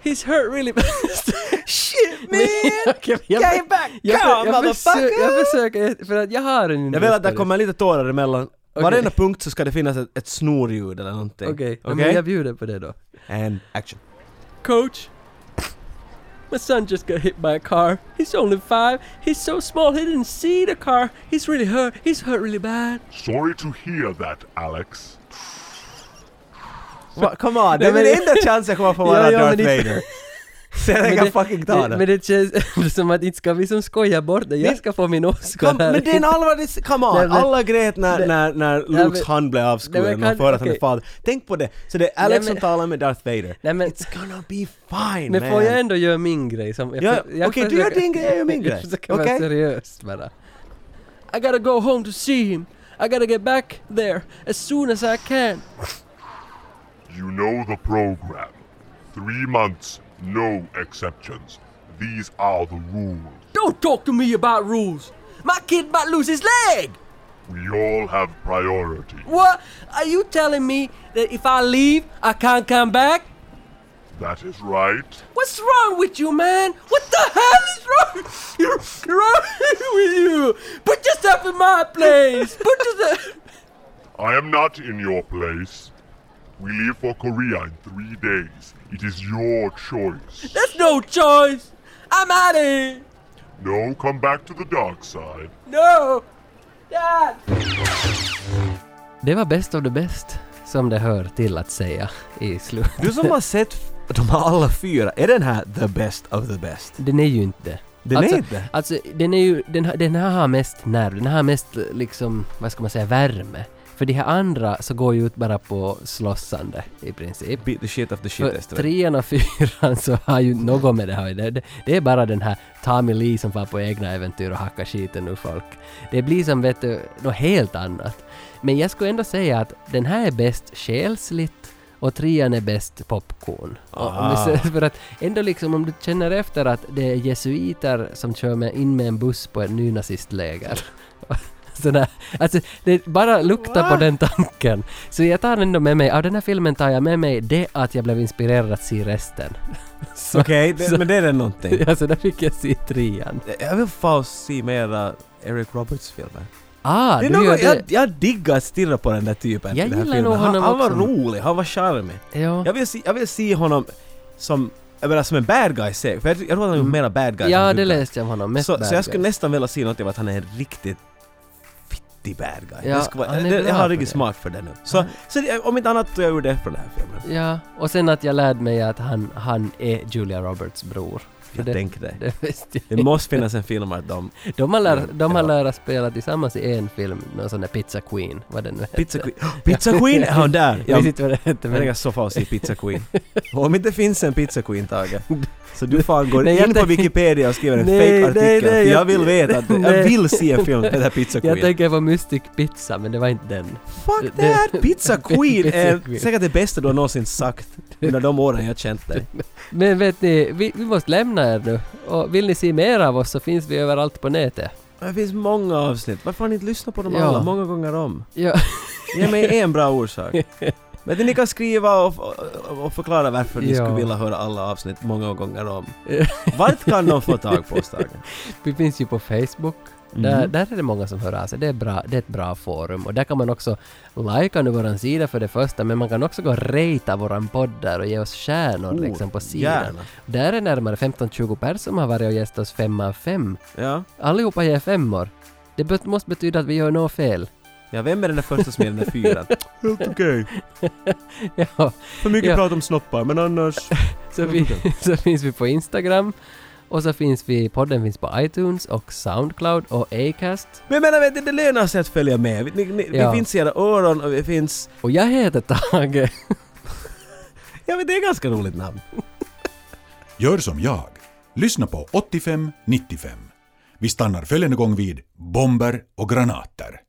S2: He's hurt really bad.
S1: Shit man!
S2: Okej, jag-
S1: Get back!
S2: jag,
S1: Come,
S2: jag,
S1: motherfucker!
S2: försöker, jag försöker, för att jag har en
S1: Jag vill att det kommer lite tårar emellan. Varenda punkt så ska det finnas ett, ett snorljud eller någonting.
S2: Okej, ja, men jag bjuder på det då.
S1: And action.
S2: Coach, my son just got hit by a car. He's only five. He's so small. He didn't see the car. He's really hurt. He's hurt really bad.
S13: Sorry to hear that, Alex.
S1: Va, come on, det är min enda chans jag kommer få vara Darth Vader. Sen jag kan fucking ta den.
S2: Men det känns som att inte ska vi som skojar bort det. Jag ska få min Oscar
S1: Kom, men det är en allvarlig... Come on!
S2: Nej, men-
S1: Alla grät när,
S2: Nej.
S1: när, när
S2: Nej,
S1: Lukes
S2: men-
S1: hand blev
S2: Nej,
S1: avskuren
S2: men
S1: och för att han är
S2: okej.
S1: fader. Tänk på det! Så det är Alex
S2: Nej,
S1: som
S2: men-
S1: talar med Darth Vader.
S2: Nej, men,
S1: It's gonna be fine
S2: men
S1: man!
S2: får jag ändå göra min grej? Som jag,
S1: Ja,
S2: för- jag
S1: okej, du gör
S2: försöker-
S1: din grej, jag gör min grej.
S2: Jag försöker vara
S1: Okej?
S2: seriöst bara. I gotta go home to see him. I gotta get back there as soon as I can.
S13: You know the program. Three months, no exceptions. These are the rules.
S2: Don't talk to me about rules. My kid might lose his leg.
S13: We all have priority.
S2: What? Are you telling me that if I leave, I can't come back?
S13: That is right.
S2: What's wrong with you, man? What the hell is wrong, wrong with you? Put yourself in my place. Put yourself.
S13: I am not in your place. We leave for Korea in three days. It is your choice.
S2: There's no choice. I'm out of here.
S13: No, come back to the dark side.
S2: No. Dad. Det var bäst av det bäst som det hör till att säga i slutet.
S1: Du som har sett f- de här alla fyra, är den här the best of the best?
S2: Den är ju inte.
S1: Den
S2: alltså,
S1: är inte?
S2: Alltså, den är ju, den, har- den här har mest nerv, den här har mest liksom, vad ska man säga, värme. För de här andra så går ju ut bara på slossande i princip.
S1: Beat the shit of the shit
S2: För
S1: test.
S2: trean och fyran så har ju något med det här det, det, det är bara den här Tommy Lee som far på egna äventyr och hackar skiten ur folk. Det blir som vet du, något helt annat. Men jag skulle ändå säga att den här är bäst själsligt och trean är bäst popcorn. Och, om vi
S1: Ah.
S2: ser- för att ändå liksom om du känner efter att det är jesuiter som kör med, in med en buss på ett nynazistläger. Sådär. Alltså, det bara lukta på den tanken. Så jag tar ändå med mig, av den här filmen tar jag med mig det att jag blev inspirerad att se resten. Så-
S1: Okej, det-
S2: så-
S1: men det är det någonting.
S2: Ja, så alltså, där fick jag se trean.
S1: Jag vill fan se mera Eric Roberts filmer.
S2: Ah,
S1: det är
S2: du gör
S1: något, jag,
S2: det.
S1: jag diggar att stirra på den där typen.
S2: Jag
S1: i den här
S2: gillar
S1: filmen.
S2: nog
S1: han,
S2: honom
S1: han var
S2: också.
S1: rolig, han var charmig.
S2: Ja.
S1: Jag, vill se, jag vill se honom som, jag menar, som en bad guy säkert, för jag, jag tror att han är mera bad guy
S2: Mm. Ja,
S1: än
S2: det
S1: good guy.
S2: läste jag om honom. Mest
S1: så,
S2: bad
S1: så jag skulle
S2: guy.
S1: nästan vilja se något av att han är en riktigt fittig bad guy.
S2: Ja,
S1: det skulle, vara-
S2: han är
S1: det,
S2: bra
S1: jag har
S2: på
S1: riktigt
S2: det.
S1: smak för det nu. Så, så det- om inte annat tog jag ur det från den här filmen.
S2: Ja, och sen att jag lärde mig att han, han är Julia Roberts bror. För
S1: Jag tänker det.
S2: Det visste jag
S1: Det måste finnas en film att de...
S2: De har, lär, de har
S1: Ja.
S2: lära spela tillsammans i en film, någon sån där Pizza Queen, vad den nu
S1: Pizza Queen! Pizza Queen är han där!
S2: Jag vet inte vad det heter
S1: Men jag är
S2: men...
S1: så fan se Pizza Queen. Och om inte finns en Pizza Queen, Tage, så du fan går
S2: Nej, jag
S1: in på
S2: tänk-
S1: Wikipedia och skriver en
S2: Nej,
S1: fake artikel
S2: nej, nej,
S1: för jag
S2: jag-
S1: vill veta, att, jag
S2: Nej.
S1: vill se en film med den här Pizza
S2: Jag
S1: Queen.
S2: tänker på Mystic Pizza, men det var inte den.
S1: Fuck
S2: det-
S1: that! Pizza Queen
S2: Pizza
S1: är
S2: Queen.
S1: säkert det bästa du har någonsin sagt under de åren jag känt dig.
S2: Men vet ni, vi, vi måste lämna er nu. Och vill ni se mer av oss så finns vi överallt på nätet.
S1: Det finns många avsnitt, varför har ni inte lyssnat på dem
S2: Ja.
S1: alla många gånger om?
S2: Ja,
S1: Ge mig en bra orsak. Men ni kan skriva och, och, och förklara varför ni
S2: Ja.
S1: skulle vilja höra alla avsnitt många gånger om. Vart kan de få tag på oss, Tage?
S2: vi finns ju på Facebook. Där,
S1: Mhm.
S2: där är det många som hör av sig. Det är, bra, det är ett bra forum. Och där kan man också likea nu våran sida för det första, men man kan också gå och ratea våran podd där och ge oss stjärnor
S1: Oh,
S2: liksom på sidan.
S1: gärna.
S2: Där är närmare 15-20 personer som har varit och gett oss fem av fem.
S1: Ja.
S2: Allihopa ger femmor. Det bet- måste betyda att vi gör något fel.
S1: Ja, vem är den där första som ger den där fyran? Helt okej.
S2: Ja,
S1: För mycket
S2: Ja.
S1: prat om snoppar, men annars...
S2: så, vi, så finns vi på Instagram och så finns vi, podden finns på iTunes och Soundcloud och Acast.
S1: Men jag menar, vet ni, det lönar sig att följa med. Vi, ni, ni,
S2: Ja.
S1: vi finns i era öron och vi finns...
S2: Och jag heter Tage.
S1: Ja, men det är ganska roligt namn.
S14: Gör som jag. Lyssna på 85-95. Vi stannar följande gång vid bomber och granater.